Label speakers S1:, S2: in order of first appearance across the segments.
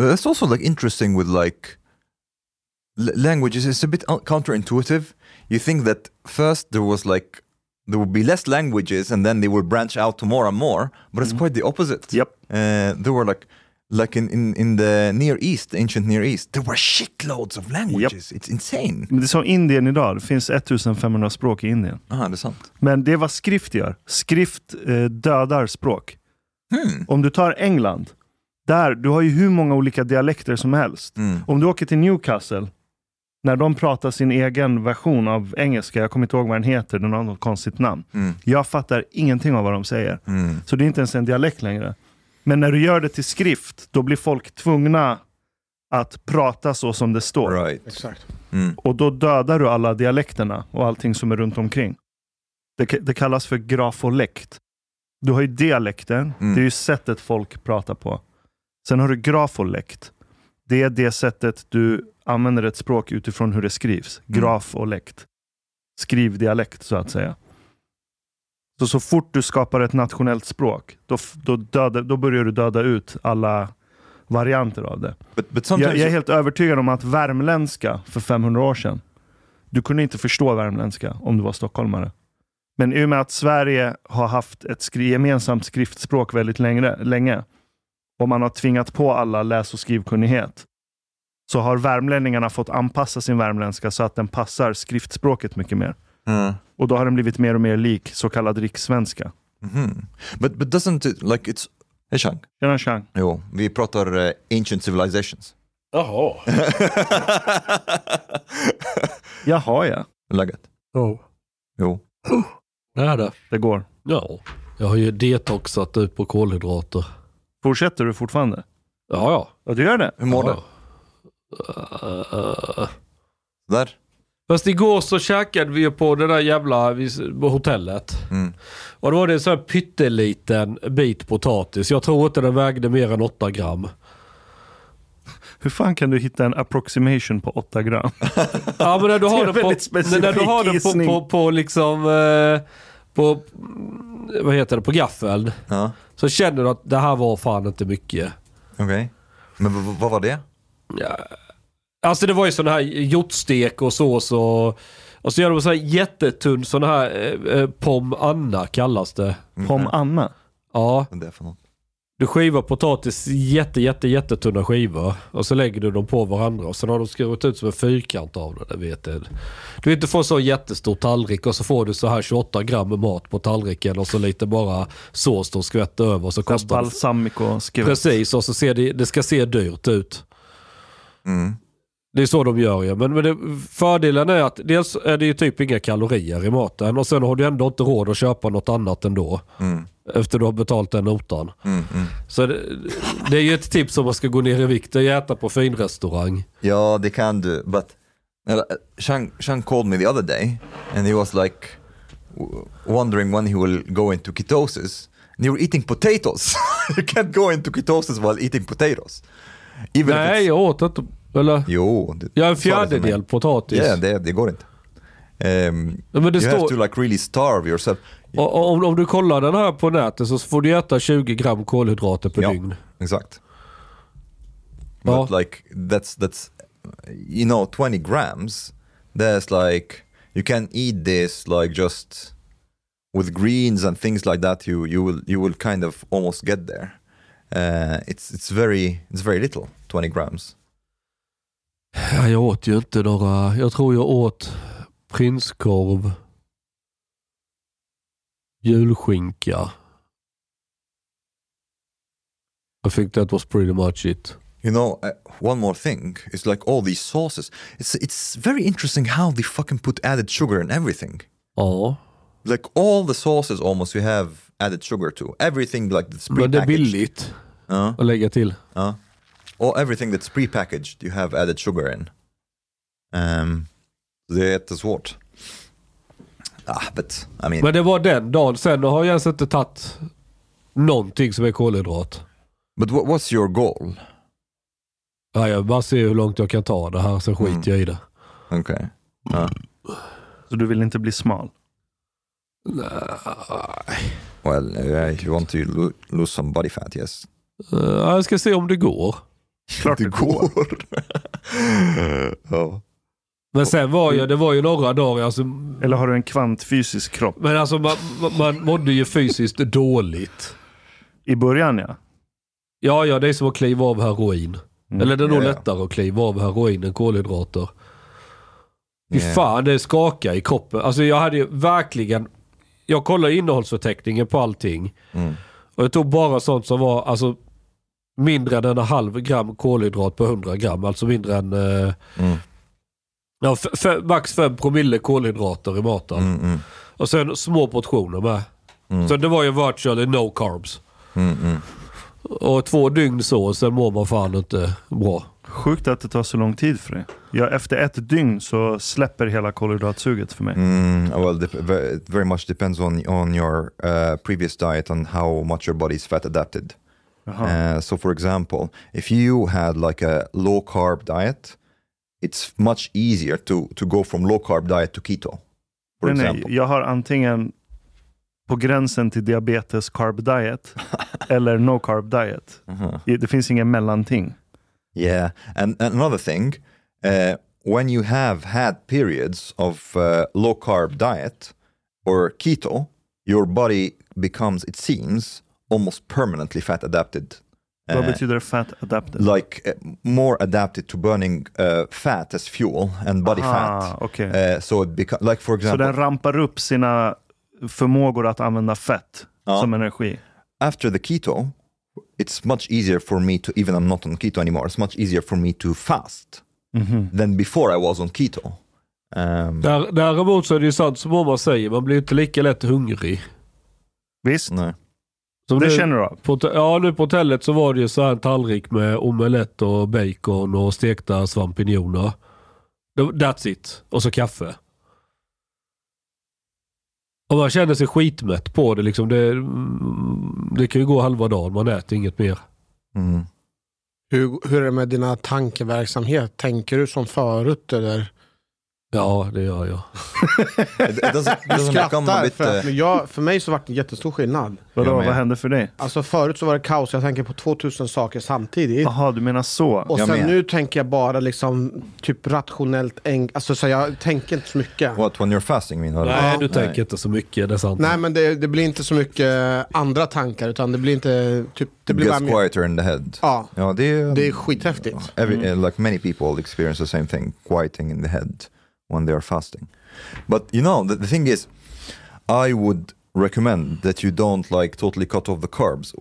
S1: That's also like interesting with like l- languages. It's a bit un- counterintuitive. You think that first there was like there would be less languages, and then they will branch out to more and more. But it's quite the opposite.
S2: Yep.
S1: Uh, there were like like in, in in the Near East, the ancient Near East, there were shitloads of languages. It's insane.
S2: Men det är som Indien idag, det finns 1500 språk i Indien.
S1: Ah, det är sant.
S2: Men det är vad skrift gör. Skrift eh, dödar språk. Om du tar England, där du har ju hur många olika dialekter som helst.
S1: Hmm.
S2: Om du åker till Newcastle, när de pratar sin egen version av engelska, jag kommer inte ihåg vad den heter, den har något konstigt namn.
S1: Hmm.
S2: Jag fattar ingenting av vad de säger. Så det är inte ens en dialekt längre. Men när du gör det till skrift, då blir folk tvungna att prata så som det står.
S1: Right. Hmm.
S3: Exakt.
S2: Och då dödar du alla dialekterna och allting som är runt omkring. Det, ka- det kallas för grafolekt. Du har ju dialekten,
S1: Mm.
S2: det är ju sättet folk pratar på. Sen har du grafolekt. Det är det sättet du använder ett språk utifrån hur det skrivs. Graf och lekt. Skrivdialekt så att säga. Så, så fort du skapar ett nationellt språk, då, f- då, döda, då börjar du döda ut alla varianter av det.
S1: But but
S2: Jag,
S1: sometimes
S2: jag är helt övertygad om att värmländska för 500 år sedan, du kunde inte förstå värmländska om du var stockholmare. Men i och med att Sverige har haft ett skri gemensamt skriftspråk väldigt längre, länge och man har tvingat på alla läs och skrivkunnighet, så har värmlänningarna fått anpassa sin värmländska så att den passar skriftspråket mycket mer.
S1: Mm.
S2: Och då har den blivit mer och mer lik så kallad rikssvenska.
S1: Mhm. But but doesn't it like it's Hey, Chang.
S2: Tjena tjang.
S1: Jo, vi pratar eh, ancient civilizations.
S3: Jaha.
S2: Jaha ja,
S1: Läget?
S3: Ja.
S1: Jo.
S3: Nära.
S2: det går.
S3: Ja. Jag har ju detoxat ut på kolhydrater.
S2: Fortsätter du fortfarande?
S3: Ja, ja.
S2: Ja, du gör det?
S1: Hur mår
S3: Ja. Eh,
S1: du? Där?
S3: Fast igår så käkade vi ju på det där jävla vi- på hotellet.
S1: Mm.
S3: Och då var det en sån här pytteliten bit potatis. Jag tror inte den vägde mer än 8 gram.
S2: Hur fan kan du hitta en approximation på 8 gram?
S3: Ja men när
S2: Det
S3: du
S2: är
S3: har den
S2: en
S3: på,
S2: väldigt specifik
S3: när du har den på,
S2: gissning.
S3: på, på liksom, eh, på, vad heter det, på gaffeln.
S1: Ja,
S3: Så känner du att det här var fan inte mycket.
S1: okej. Men v- v- vad var det?
S3: Alltså det var ju sån här hjortstek och sås och, och så gör de så här jättetunn sån här eh, eh, pom anna kallas det.
S1: Mm.
S2: Pom Anna?
S3: Ja,
S1: Vad är det för något?
S3: du skivar potatis jätte jätte jättetunna skivor och så lägger du dem på varandra och sen har de skurit ut som en fyrkant av det, det vet jag. Du inte får så jättestor tallrik och så får du så här 28 gram mat på tallriken och så lite bara sås de skvätter över och så
S2: Där
S3: kostar det
S2: balsamico skrev
S3: Precis, och så ser det, det ska se dyrt ut.
S1: Mm,
S3: Det är så de gör ju. Men, men det, fördelen är att dels är det ju typ inga kalorier i maten och sen har du ändå inte råd att köpa något annat ändå.
S1: Mm.
S3: Efter du har betalt den notan. Så det, det är ju ett tips om man ska gå ner i vikt, det är att äta på finrestaurang.
S1: Ja, det kan du. But uh, Shang, Shang called me the other day and he was like w- wondering when he will go into ketosis. And you were eating potatoes. you can't go into ketosis while eating potatoes. Even if
S3: Nej,
S1: it's-
S3: jag åt inte... Eller?
S1: Jo. det-
S3: Jag är en
S1: sa det till mig.
S3: fjärdedel potatis.
S1: Ja, det, det går inte. Ehm,
S3: Ja, men det
S1: you have
S3: står-
S1: to like really starve yourself.
S3: Och, och om, om du kollar den här på nätet så får du äta 20 gram kolhydrater per dygn.
S1: Exakt.
S3: Ja.
S1: But like that's that's you know 20 grams there's like you can eat this like just with greens and things like that you you will you will kind of almost get there. Uh, it's it's very it's very little 20 grams.
S3: Ja, jag åt ju inte några... Jag tror jag åt prinskorv, julskinka. I think that was pretty much it.
S1: You know, uh, one more thing is like all these sauces. It's it's very interesting how they fucking put added sugar in everything.
S3: Ja,
S1: Like all the sauces almost you have added sugar to. Everything like that's
S3: men det är
S1: prepackaged.
S3: billigt
S1: Ja.
S3: att lägga till.
S1: Ja. Och everything that's prepackaged you have added sugar in. Ehm, det är jättesvårt. Ah, but I mean,
S3: Men det var den dagen. Sen har jag ens inte tagit någonting som är kolhydrat.
S1: but what, what's your goal?
S3: Ja, jag bara ser hur långt jag kan ta det här, sen skiter jag i det.
S1: Okay.
S2: så du vill inte bli smal.
S1: Well, uh, if you want to lo- lose some body fat, yes.
S3: Eh, jag ska se om det går.
S2: Klart det går.
S1: ja.
S3: Men sen var ju, det var ju några dagar, alltså,
S2: Eller har du en kvantfysisk kropp?
S3: men alltså man, man- man mådde ju fysiskt dåligt.
S2: I början ja.
S3: Ja, ja, det är som att kliva av heroin.
S2: Mm.
S3: Eller det är nog
S1: Ja, ja.
S3: lättare att kliva av heroin än kolhydrater. Fy
S1: Ja.
S3: fan, det skakar i kroppen. Alltså jag hade ju verkligen... Jag kollade innehållsförteckningen på allting.
S1: Mm.
S3: Och jag tog bara sånt som var alltså, mindre än en halv gram kolhydrat på 100 gram. Alltså mindre än... Eh,
S1: Mm.
S3: ja, f- f- max 5 promille kolhydrater i maten.
S1: Mm, mm,
S3: Och sen små portioner med.
S1: Mm.
S3: Så det var ju virtually no carbs.
S1: mm, mm.
S3: Och två dygn så, sen mår man fan inte bra.
S2: Sjukt att det tar så lång tid för dig. Ja, efter ett dygn så släpper hela kolhydratsuget för mig.
S1: Mm, well, dep- ve- it very much depends on on your uh, previous diet and how much your body's fat adapted.
S2: Jaha.
S1: Uh, so, for example, if you had like a low carb diet, it's much easier to to go from low carb diet to keto, for
S2: Nej, nej,
S1: example.
S2: jag har antingen på gränsen till diabetes carb diet eller no carb diet.
S1: Uh-huh.
S2: Det finns ingen mellanting.
S1: Yeah, and, and another thing, uh, when you have had periods of uh, low carb diet or keto, your body becomes, it seems, almost permanently fat adapted.
S2: Vad
S1: Uh,
S2: betyder fat adapted?
S1: like uh, more adapted to burning uh, fat as fuel and body
S2: Ah,
S1: fat.
S2: okej.
S1: Uh, so it becomes like for
S2: Så
S1: example
S2: den rampar upp sina förmågor att använda fett
S1: Ja.
S2: som energi.
S1: after the keto, it's much easier for me to even I'm not on keto anymore. It's much easier for me to fast than before I was on keto. Um,
S3: Där, däremot så är det ju sant som mamma säger, man blir ju inte lika lätt hungrig.
S2: Visst,
S1: no.
S3: Som
S2: det
S3: nu-
S2: känner du av.
S3: På, hotell- ja, nu på hotellet så var det ju så här en tallrik med omelett och bacon och stekta svampinjoner. Det- That's it. Och så kaffe. Och man känner sig skitmätt på det. Liksom det, mm, det kan ju gå halva dagen, man äter inget mer.
S1: Mm.
S4: Hur, hur är det med dina tankeverksamhet? Tänker du som förut eller?
S3: Ja, det gör jag.
S1: It, it doesn't,
S4: Du
S1: doesn't become a
S4: skrattar,
S1: bit.
S4: för,
S1: Uh,
S4: att, men jag, för mig så var det en jättestor skillnad.
S2: Vadå,
S1: Jag med.
S2: vad hände för dig?
S4: Alltså förut så var det kaos, jag tänker på 2000 saker samtidigt.
S2: Jaha, du menar så.
S4: Och
S1: Jag
S4: sen
S1: med.
S4: nu tänker jag bara liksom typ rationellt, en, alltså så jag tänker inte så mycket.
S1: what when you're fasting, mean?
S3: Nej,
S4: Ja.
S3: du tänker inte så mycket. Det är sant.
S4: Nej men det, det blir inte så mycket andra tankar utan det blir inte, typ, det
S1: It
S4: blir bara
S1: gets
S4: mer.
S1: quieter in the head.
S4: Ja,
S1: No, they, um,
S4: det är skithäftigt.
S1: Every, uh, like many people experience the same thing, quieting in the head when they are fasting. But you know, the, the thing is, I would recommend that you don't like totally cut off the carbs.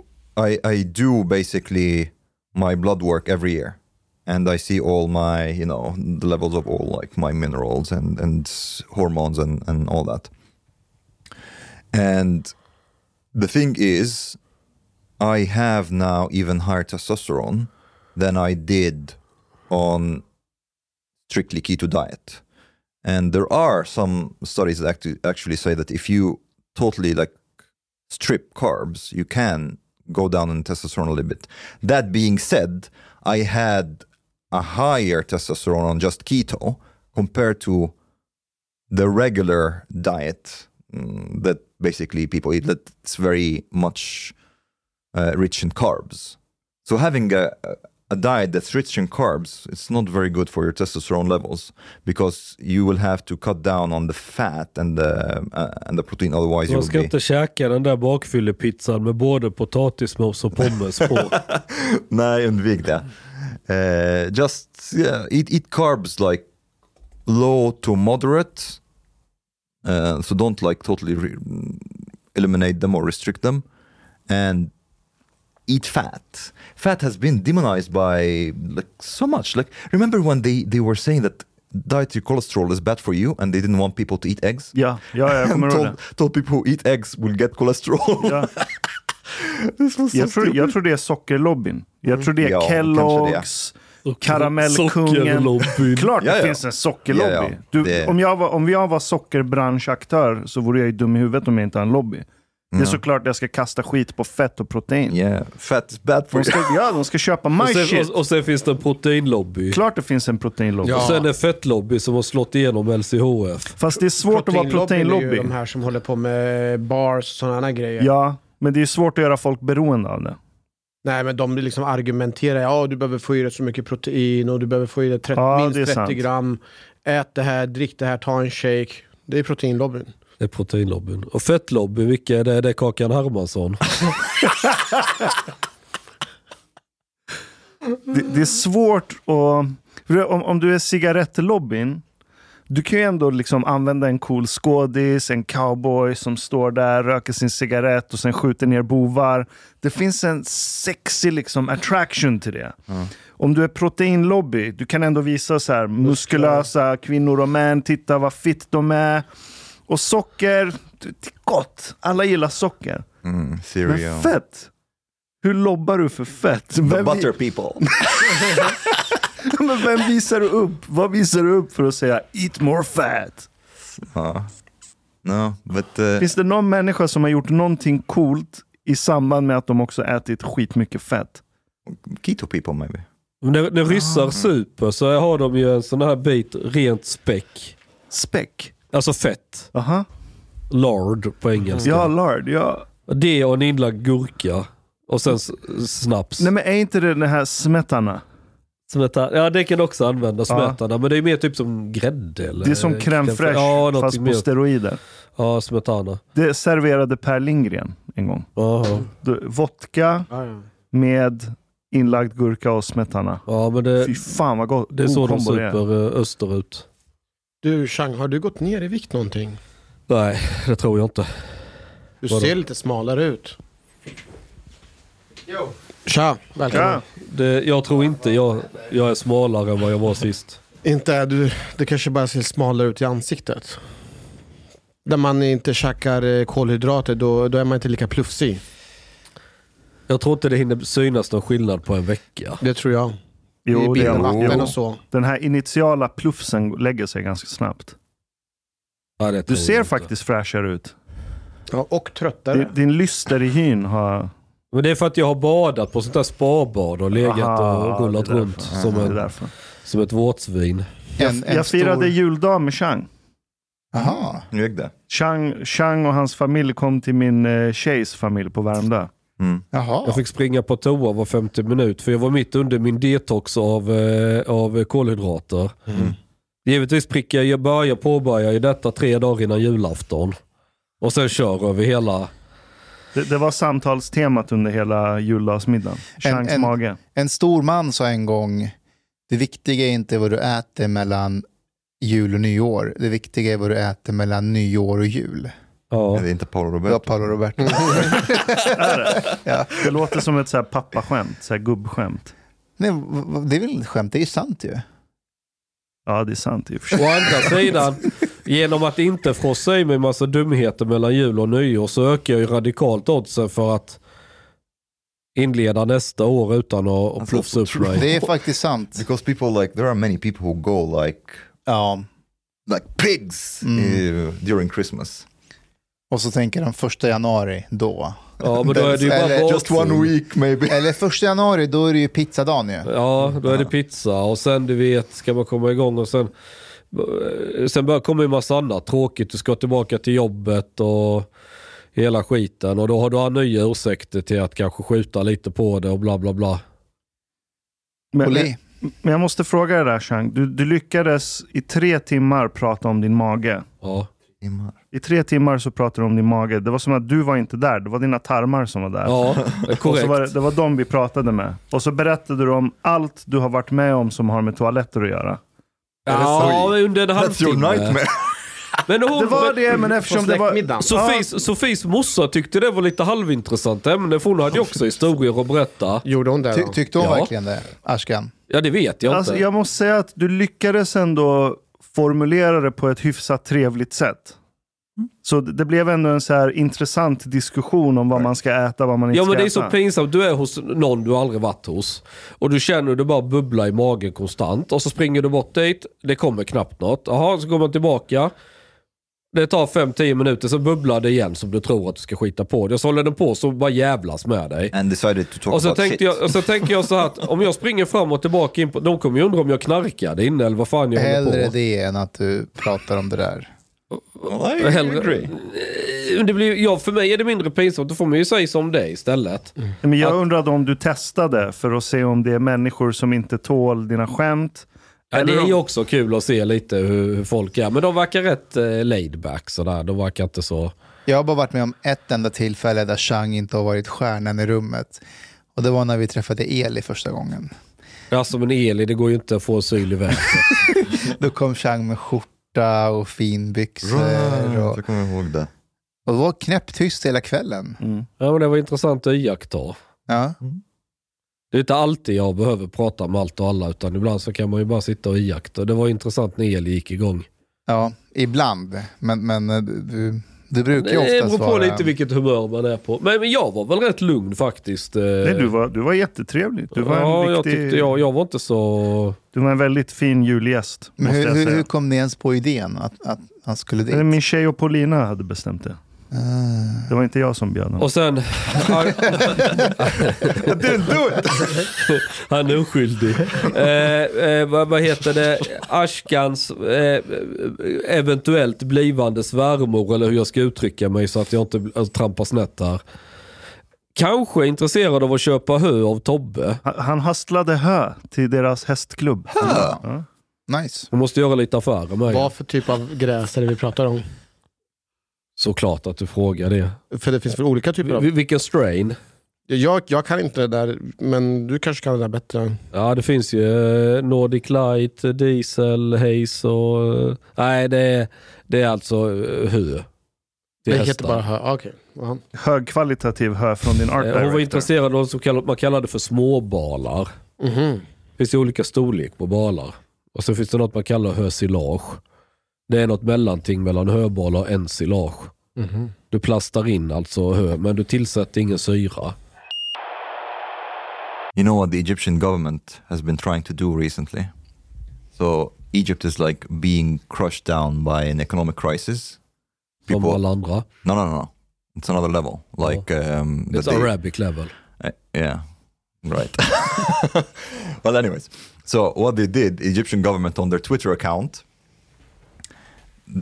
S1: I, I do basically my blood work every year. And I see all my, you know, the levels of all like my minerals and, and hormones and, and all that. And the thing is, I have now even higher testosterone than I did on strictly keto diet. And there are some studies that actu- actually say that if you totally like strip carbs, you can go down in testosterone a little bit. That being said, I had a higher testosterone on just keto compared to the regular diet mm, that basically people eat that's very much uh, rich in carbs. So having a, a diet that's rich in carbs, it's not very good for your testosterone levels because you will have to cut down on the fat and the uh, and the protein. Otherwise, you
S3: Man
S1: will
S3: ska
S1: be
S3: inte käka den där bakfyllepizzan med både potatismos och pommes på.
S1: Nej, undvik det. Eh, just yeah, eat, eat carbs like low to moderate. Uh, so don't like totally re- eliminate them or restrict them. And eat fat. Fat has been demonized by like so much. Like remember when they, they were saying that dietary cholesterol is bad for you and they didn't want people to eat eggs?
S2: Ja, ja, jag kommer
S1: and
S2: ihåg det.
S1: told, told people who eat eggs will get cholesterol.
S2: Ja.
S1: This was so
S2: Jag, tror,
S1: stupid.
S2: jag tror det är sockerlobbyn. Jag tror det är
S1: Mm. Ja, kanske det,
S2: Kelloggs, karamellkungen.
S3: Sockerlobbyn.
S2: Klart det
S1: Ja, ja.
S2: finns en sockerlobby.
S1: Ja, ja.
S2: Du,
S1: Det-
S2: om, jag var, om jag var sockerbranschaktör så vore jag ju dum i huvudet om jag inte har en lobby.
S1: Mm.
S2: Det är såklart jag ska kasta skit på fett och protein.
S1: Yeah, fat is bad for
S2: De
S1: you.
S2: ska, ja, de ska köpa my
S3: Och sen,
S2: shit.
S3: och, och sen finns det en proteinlobby.
S2: Klart det finns en proteinlobby.
S4: Ja.
S3: Och sen en fettlobby som har slått igenom LCHF.
S2: Fast det är svårt att vara
S4: är ju
S2: proteinlobby.
S4: de här som håller på med bars och sådana grejer.
S2: Ja, men det är svårt att göra folk beroende av det.
S4: Nej, men de liksom argumenterar. Ja, du behöver få i dig så mycket protein och du behöver få i dig 30,
S2: Ja,
S4: minst
S2: det är
S4: 30
S2: sant.
S4: gram. Ät det här, drick det här, ta en shake. Det är proteinlobbyn.
S3: Det är proteinlobbyn. Och fettlobbyn, vilka är det? Det är Kakan Hermansson.
S2: Det, det är svårt att... för Om, om du är cigarettlobbyn, du kan ju ändå liksom använda en cool skådis, en cowboy som står där, röker sin cigarett och sen skjuter ner bovar. Det finns en sexy liksom attraction till det. Om du är proteinlobby, du kan ändå visa så här, muskulösa kvinnor och män, titta vad fitt de är. Och socker, det det är gott. Alla gillar socker.
S1: Mm,
S2: Men
S1: cereal.
S2: fett! Hur lobbar du för fett?
S1: The
S2: Vem-
S1: butter people.
S2: Men vem visar du upp? Vad visar du upp för att säga eat more fat?
S1: ja. No, but... Uh,
S2: Finns det någon människa som har gjort någonting coolt i samband med att de också ätit skitmycket fett?
S1: keto people maybe.
S3: Men när, när ryssar super så har de ju en sån här bit rent späck.
S2: Späck?
S3: Alltså fett.
S2: Aha.
S3: Lard på engelska.
S2: Ja, lard. Ja.
S3: Det och en inlagd gurka. Och sen s- snaps.
S2: Nej men är inte det den här smetana?
S3: Smeta, ja, det kan också användas,
S2: Ja.
S3: smetana. Men det är mer typ som grädde. Eller
S2: Det är som crème fraîche
S3: Ja, någonting
S2: fast på
S3: mer.
S2: steroider.
S3: Ja, smetana.
S2: Det serverade Per Lindgren en gång.
S3: Jaha.
S2: Du, Vodka med inlagd gurka och smetana.
S3: Ja, men det,
S2: Fy fan vad gott.
S3: Eh, det är så
S2: God
S3: de
S2: kombo det är.
S3: super eh, österut.
S4: Du, Chang, har du gått ner i vikt någonting?
S3: Nej, det tror jag inte.
S4: Du
S3: Vadå?
S4: ser lite smalare ut. Tja, välkommen.
S2: Ja.
S3: Det, jag tror inte jag, jag är smalare än vad jag var sist.
S4: Inte är du, det kanske bara ser smalare ut i ansiktet. När man inte käkar eh, kolhydrater då, då är man inte lika plufsig.
S3: Jag tror inte det hinner synas någon skillnad på en vecka.
S4: Det tror jag. I
S2: Jo, det
S4: bilden,
S2: är,
S4: vatten
S1: Jo.
S4: och så.
S2: den här initiala plufsen lägger sig ganska snabbt.
S3: Ja, det
S2: Du
S3: tror jag
S2: ser
S3: inte.
S2: faktiskt fräschare ut.
S4: Ja, och
S2: Din,
S4: tröttare.
S2: din lyster i hyn har...
S3: Men det är för att jag har badat på sånt där spabad och legat
S2: Aha,
S3: och rullat
S2: det är
S3: runt
S2: därför.
S3: som,
S2: Det är
S3: en,
S2: därför.
S3: som ett våtsvin.
S5: En, en
S2: Jag firade
S5: stor...
S2: juldag med Chang.
S5: Aha.
S1: Nu gick det.
S2: Chang. Chang och hans familj kom till min eh, tjejs familj på Värmdö.
S1: Mm.
S5: Jaha.
S3: Jag fick springa på toa var 50 minut för jag var mitt under min detox av, eh, av kolhydrater. Givetvis prickar jag, jag börjar påbörja i detta tre dagar innan julafton. Och sen kör över hela.
S2: Det, det var samtalstemat under hela juldagsmiddagen. Changs
S5: en-
S2: mage.
S5: En stor man sa en gång, det viktiga är inte vad du äter mellan jul och nyår. Det viktiga är vad du äter mellan nyår och jul.
S3: Ja.
S1: Är det inte Paolo
S5: Det var
S1: Roberto?
S5: Paolo Roberto.
S2: Det låter som ett så här pappaskämt, så här gubbskämt.
S5: Nej, v- v- det är väl ett skämt, det är ju sant ju.
S2: Ja, det är sant i och för
S3: Å
S2: sig.
S3: andra sidan, genom att inte frossa i mig massa dumheter mellan jul och nyår så ökar jag ju radikalt oddsen för att inleda nästa år utan att, att
S1: Alltså,
S3: plufsa upp mig.
S5: Det är faktiskt sant.
S1: Because people like, there are many people who go like,
S5: Ja.
S1: like pigs eh, during Christmas.
S5: Och så tänker de första januari då.
S3: Ja, men då är det ju bara
S5: Eller
S1: Just one
S3: bakfull.
S1: week maybe.
S5: Eller första januari, då är det ju pizzadagen ju.
S3: Ja, då är det pizza och sen du vet ska man komma igång och sen, sen börjar komma en massa annat tråkigt. Du ska tillbaka till jobbet och hela skiten och då har du nya ursäkter till att kanske skjuta lite på det och bla bla bla.
S2: Men, men,
S5: Oli.
S2: men jag måste fråga dig där Chang. Du, du lyckades i tre timmar prata om din mage.
S3: Ja,
S2: I tre timmar så pratade du om din mage. Det var som att du var inte där. Det var dina tarmar som var där.
S3: ja det är
S2: Och så
S3: korrekt.
S2: var det, det var de vi pratade med. Och så berättade du om allt du har varit med om som har med toaletter att göra.
S3: Ja, under en
S1: That's your
S3: halvtimme.
S1: nightmare.
S3: Men hon,
S2: Det var det, men eftersom det var...
S4: släktmiddagen.
S3: Sofies, Sofies morsa tyckte det var lite halvintressant ämne för hon hade ju också historier att berätta.
S4: Gjorde hon det
S5: Ty,
S4: då?
S5: tyckte hon
S3: Ja.
S5: verkligen det, Ashkan?
S3: Ja, det vet jag
S2: Alltså,
S3: inte.
S2: jag måste säga att du lyckades ändå formulera det på ett hyfsat trevligt sätt. Så det det blev ändå en så här intressant diskussion om vad man ska äta vad man inte
S3: Ja men
S2: ska
S3: det är
S2: äta.
S3: så pinsamt. Du är hos någon du aldrig varit hos. Och du känner hur det bara bubblar i magen konstant. Och så springer du bort dit. Det kommer knappt något. Jaha, så går man tillbaka. Det tar 5-10 minuter, så bubblar det igen som du tror att du ska skita på dig. Så håller den på så bara jävlas med dig.
S1: And decided to talk
S3: Och så,
S1: about shit.
S3: tänkte jag, och så tänker jag så här att om jag springer fram och tillbaka in på... De kommer ju undra om jag knarkade inne eller vad fan jag håller på
S5: Hellre det än att du pratar om det där.
S1: Well, uh, I
S3: Hellre-
S1: agree.
S3: det, det blir, ja, för mig är det mindre pinsamt. Då får man ju säga som det är istället.
S2: Men jag
S3: Att-
S2: undrade om du testade för att se om det är människor som inte tål dina skämt.
S3: Ja, det
S2: Eller
S3: är
S2: om-
S3: ju också kul att se lite hur, hur folk är. Men de verkar rätt eh, laid back sådär. De verkar inte så...
S5: Jag har bara varit med om ett enda tillfälle där Chang inte har varit stjärnan i rummet. Och det var när vi träffade Eli första gången.
S3: Alltså men Eli, det går ju inte att få syl i vädret.
S5: Då kom Chang med skjorta och finbyxor. Och,
S1: Jag kommer ihåg det.
S5: och det var knäpptyst hela kvällen.
S3: Ja men det var intressant att iaktta.
S5: Ja.
S3: Det är inte alltid jag behöver prata med allt och alla utan ibland så kan man ju bara sitta och iaktta. Det var intressant när Eli gick igång.
S5: Ja, ibland. Men, men eh, du, du brukar ju
S3: Det beror
S5: oftast
S3: på
S5: vara...
S3: lite vilket humör man är på. Men, men jag var väl rätt lugn faktiskt. eh.
S2: Nej, du, var, du var jättetrevlig. Du var,
S3: ja,
S2: en
S3: jag,
S2: riktig,
S3: tyckte, jag, jag var inte så...
S2: du var en väldigt fin julgäst,
S5: Men
S2: måste
S5: hur,
S2: jag
S5: hur,
S2: säga.
S5: hur kom ni ens på idén att, att han skulle dit?
S2: Eller Min tjej och Paulina hade bestämt det.
S5: Ah.
S2: Det var inte jag som bjöd honom.
S3: Och sen... Han, han är oskyldig. Eh, eh, vad, vad heter det? Ashkans eh, eventuellt blivande svärmor, eller hur jag ska uttrycka mig så att jag inte alltså, trampar snett här. Kanske är intresserad av att köpa hö av Tobbe.
S2: Han, han hastlade hö till deras hästklubb. Ja.
S5: Nice.
S3: Hon måste göra lite affärer med
S4: Vad
S3: det.
S4: för typ av gräs är det vi pratar om?
S3: Såklart att du frågar det.
S4: För det finns väl olika typer av...
S3: Vil- Vilken strain?
S4: Jag, jag kan inte det där, men du kanske kan det där bättre.
S3: Ja, det finns ju eh, Nordic Light, eh, Diesel, Haze och... eh, Nej, det är, det är alltså eh, hö.
S4: Det,
S3: till
S4: heter
S3: hästar.
S4: bara hö. Ah, Okej. Ja.
S2: Högkvalitativ hö från din art
S3: Eh, Hon var
S2: director.
S3: intresserad av så kallade, man kallar det för småbalar.
S4: Mhm.
S3: Det finns ju olika storlek på balar. Och så finns det något man kallar hösilage. Det är något mellanting mellan höbalar och ensilage.
S4: Mhm.
S3: Du plastar in alltså hö, men du tillsätter ingen syra.
S1: You know what the Egyptian government has been trying to do recently? So Egypt is like being crushed down by an economic crisis.
S3: Som
S1: People-
S3: alla andra.
S1: No, no, no, no. It's another level. Like um, that
S3: It's
S1: they-
S3: Arabic level.
S1: Uh, yeah, right. well, anyways, so what they did, Egyptian government on their Twitter account,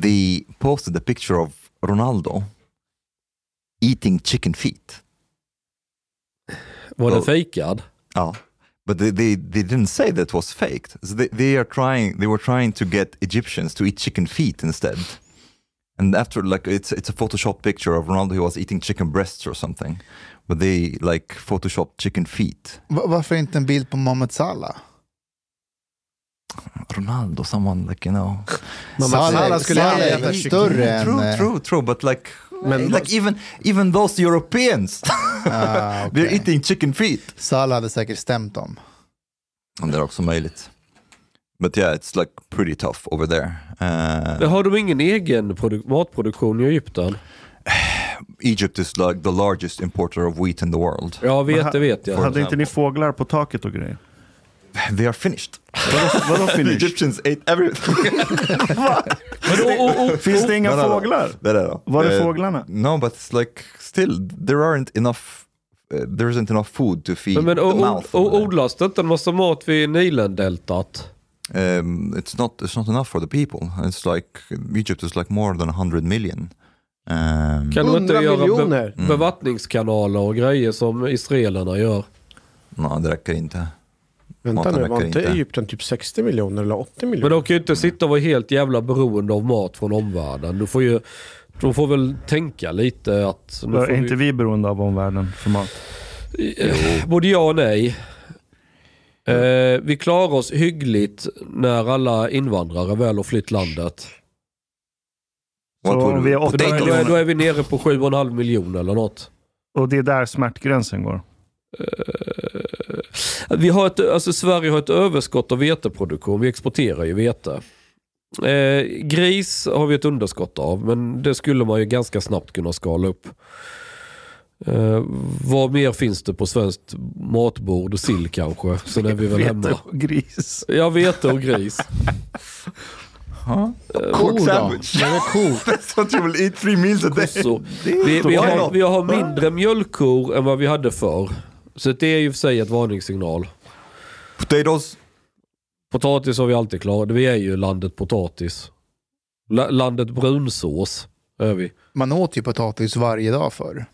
S1: they posted a picture of Ronaldo eating chicken feet.
S3: Var den
S1: Ja.
S3: fejkad?
S1: Oh. But they, they, they didn't say that was faked. So they, they are trying they were trying to get Egyptians to eat chicken feet instead. And after like it's it's a Photoshop picture of Ronaldo who was eating chicken breasts or something. But they like photoshopped chicken feet.
S5: Va- Varför inte en bild på Mohamed Salah?
S1: Ronaldo, someone like you know.
S5: Salah, Salah skulle
S4: Salah
S5: jag
S4: är
S5: äta större än...
S1: True,
S5: eh,
S1: true, true. But like eh,
S4: Men-
S1: like even even those Europeans
S5: Ah,
S1: they're
S5: okej.
S1: eating chicken feet.
S5: Salah hade säkert stämt dem.
S1: And they're also möjligt. But yeah, it's like pretty tough over there. Uh,
S3: Men har de ingen egen produ- matproduktion i Egypten?
S1: Egypt is like the largest importer of wheat in the world.
S3: Ja, vet, det vet jag.
S2: Hade inte ni fåglar på taket och grejer?
S1: They are finished.
S2: Vadå, vadå
S1: The
S2: finish?
S1: Egyptians ate everything.
S3: Men, oh, oh, oh,
S2: Finns det
S1: No,
S2: inga
S1: no, no.
S2: fåglar?
S1: no, no, no.
S2: Var är
S1: Eh,
S2: fåglarna?
S1: No, but it's like still there aren't enough. Uh, there isn't enough food to feed
S3: men, men,
S1: the
S3: oh,
S1: mouth.
S3: oh,
S1: over there.
S3: odlas det inte en massa mat vid Nilendeltat?
S1: um, it's not it's not enough for the people. It's like Egypt is like more than 100 million. Um,
S3: Kan de inte
S4: 100
S3: göra
S4: miljoner.
S1: Mm.
S3: Be- bevattningskanaler och grejer som israelerna gör?
S1: no, det räcker inte.
S4: Vänta
S1: Maten
S4: nu, var
S1: räcker
S4: inte
S1: inte.
S4: Egypten typ 60 miljoner eller 80
S3: Men
S4: miljoner?
S3: de kan ju inte sitta och vara helt jävla beroende av mat från omvärlden. Du får ju, de får väl tänka lite att... Nu får
S2: Är inte
S3: vi,
S2: vi beroende av omvärlden för mat?
S3: både ja och nej. Eh, vi klarar oss hyggligt när alla invandrare väl har flytt landet.
S1: What
S2: Så
S1: would
S2: om vi är
S1: we-
S3: För då, är,
S2: Potatoes.
S3: då, är, då är vi nere på 7,5 miljoner eller något.
S2: Och det är där smärtgränsen går.
S3: Eh, Vi har ett, alltså Sverige har ett överskott av veteproduktion. Vi exporterar ju vete. Eh, gris har vi ett underskott av, men det skulle man ju ganska snabbt kunna skala upp. Eh, vad mer finns det på svenskt matbord? Sill kanske? Sen är vi väl hemma.
S2: Vete och gris.
S3: Ja, vete och gris.
S5: Ko då?
S1: sandwich.
S5: Men en ko.
S1: That's what you will eat three meals a day.
S3: Så, vi, vi, har, vi har mindre mjölkkor än vad vi hade förr. Så det är ju för sig ett varningssignal.
S1: Potatoes.
S3: Potatis har vi alltid klarat. Vi är ju landet potatis. La- landet brunsås. Är vi.
S5: Man åt ju potatis varje dag förr.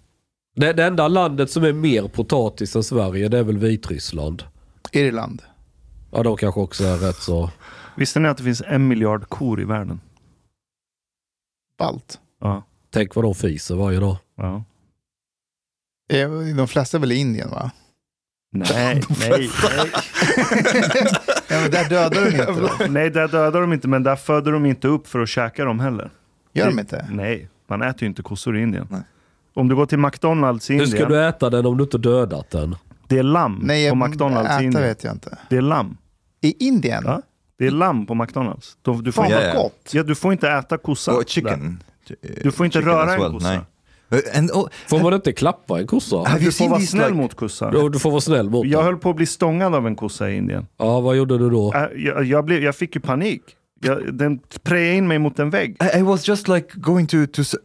S3: Det, det enda landet som är mer potatis än Sverige, det är väl Vitryssland.
S5: Irland.
S3: Ja, de kanske också är rätt så...
S2: Visste ni att det finns en miljard kor i världen?
S5: Balt.
S2: Ja.
S3: Tänk vad de fiser varje dag.
S2: ja.
S5: Eh, De flesta är väl i Indien va?
S2: Nej, nej, nej.
S5: ja, men där dödar de inte. va?
S2: nej, där dödar de inte, men där föder de inte upp för att käka dem heller.
S5: Gör de inte?
S2: Nej, man äter ju inte kossor i Indien.
S1: Nej.
S2: Om du går till McDonalds i
S3: Hur ska
S2: Indien,
S3: du äta den om du inte dödat den?
S2: det är lamm
S5: Nej,
S2: på
S5: jag-
S2: McDonalds i
S5: äta
S2: Indien.
S5: vet jag inte.
S2: Det är lamm.
S5: I Indien?
S2: Ja. Det är lamm på McDonalds. De- Du får,
S5: Fan
S2: inte,
S1: Ja,
S5: vad
S1: ja.
S5: gott.
S2: ja, du får inte äta kossa.
S1: Oh,
S2: där.
S1: chicken.
S2: Du får inte
S1: Chicken
S2: röra
S1: as
S2: en kossa.
S1: Uh, And, oh,
S3: Får man inte klappa en kossa?
S1: have you
S2: Du får
S1: seen
S2: vara
S1: these,
S2: snäll
S1: like-
S2: mot kossa.
S3: Du, du får vara snäll mot
S2: Jag
S3: den.
S2: höll på att bli stångad av en kossa i Indien.
S3: Ja, vad gjorde du då?
S2: Äh, Jag, jag, blev, jag fick ju panik. Jag, den prejade in mig mot en vägg.
S1: I, I was just like going to to. s-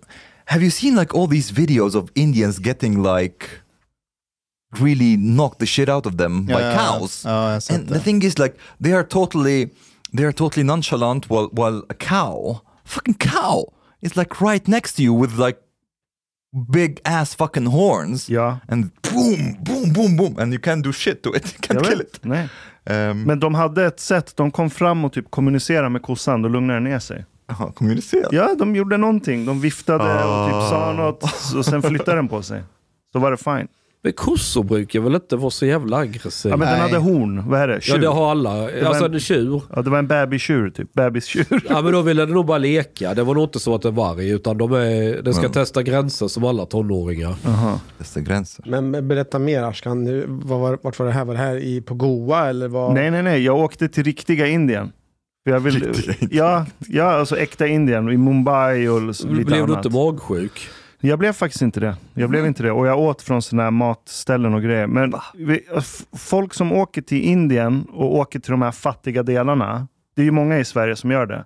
S1: Have you seen like all these videos of Indians getting like really knocked the shit out of them by
S5: Ja, ja, ja.
S1: cows?
S5: Ja, jag har sett
S1: And the
S5: det.
S1: thing is, like, they are totally, they are totally nonchalant. While while a cow, fucking cow, is like right next to you with like big ass fucking horns.
S2: Ja.
S1: And boom, boom, boom, boom, and you can't do shit to it. You
S2: Jag
S1: can't kill
S2: vet.
S1: it.
S2: Nej.
S1: Um,
S2: Men de hade ett sätt. De kom fram och typ kommunicerade med kossan. Då lugnade den ner sig.
S1: aha, communicera.
S2: Ja, de gjorde någonting. De viftade och typ sa något. Och sen flyttade den på sig. Så var det fine.
S3: Men kossor brukar väl inte vara så jävla aggressiva?
S2: Ja,
S3: Ja,
S2: men den
S5: Nej.
S2: hade horn. Vad är det? Tjur?
S3: det har alla. Alltså
S2: en-
S3: en tjur.
S2: Ja, det var en babystjur typ. Bebistjur.
S3: Ja, men då ville den nog bara leka. Det var nog inte så att den var arg, utan de, är, de ska testa gränser som alla tonåringar.
S1: That's the gränser.
S4: Men men berätta mer Ashkan, Nu, vad var, vart var det här? Var det här i, på Goa eller vad?
S2: Nej, nej, nej. Jag åkte till riktiga Indien. För Jag vill,
S1: Riktiga
S2: ja, ja, alltså äkta Indien. I Mumbai och lite
S3: Blev
S2: annat.
S3: du inte magsjuk?
S2: Jag blev faktiskt inte det. Jag blev inte det. Och jag åt från sådana här matställen och grejer. Men vi, f- folk som åker till Indien och åker till de här fattiga delarna. Det är ju många i Sverige som gör det.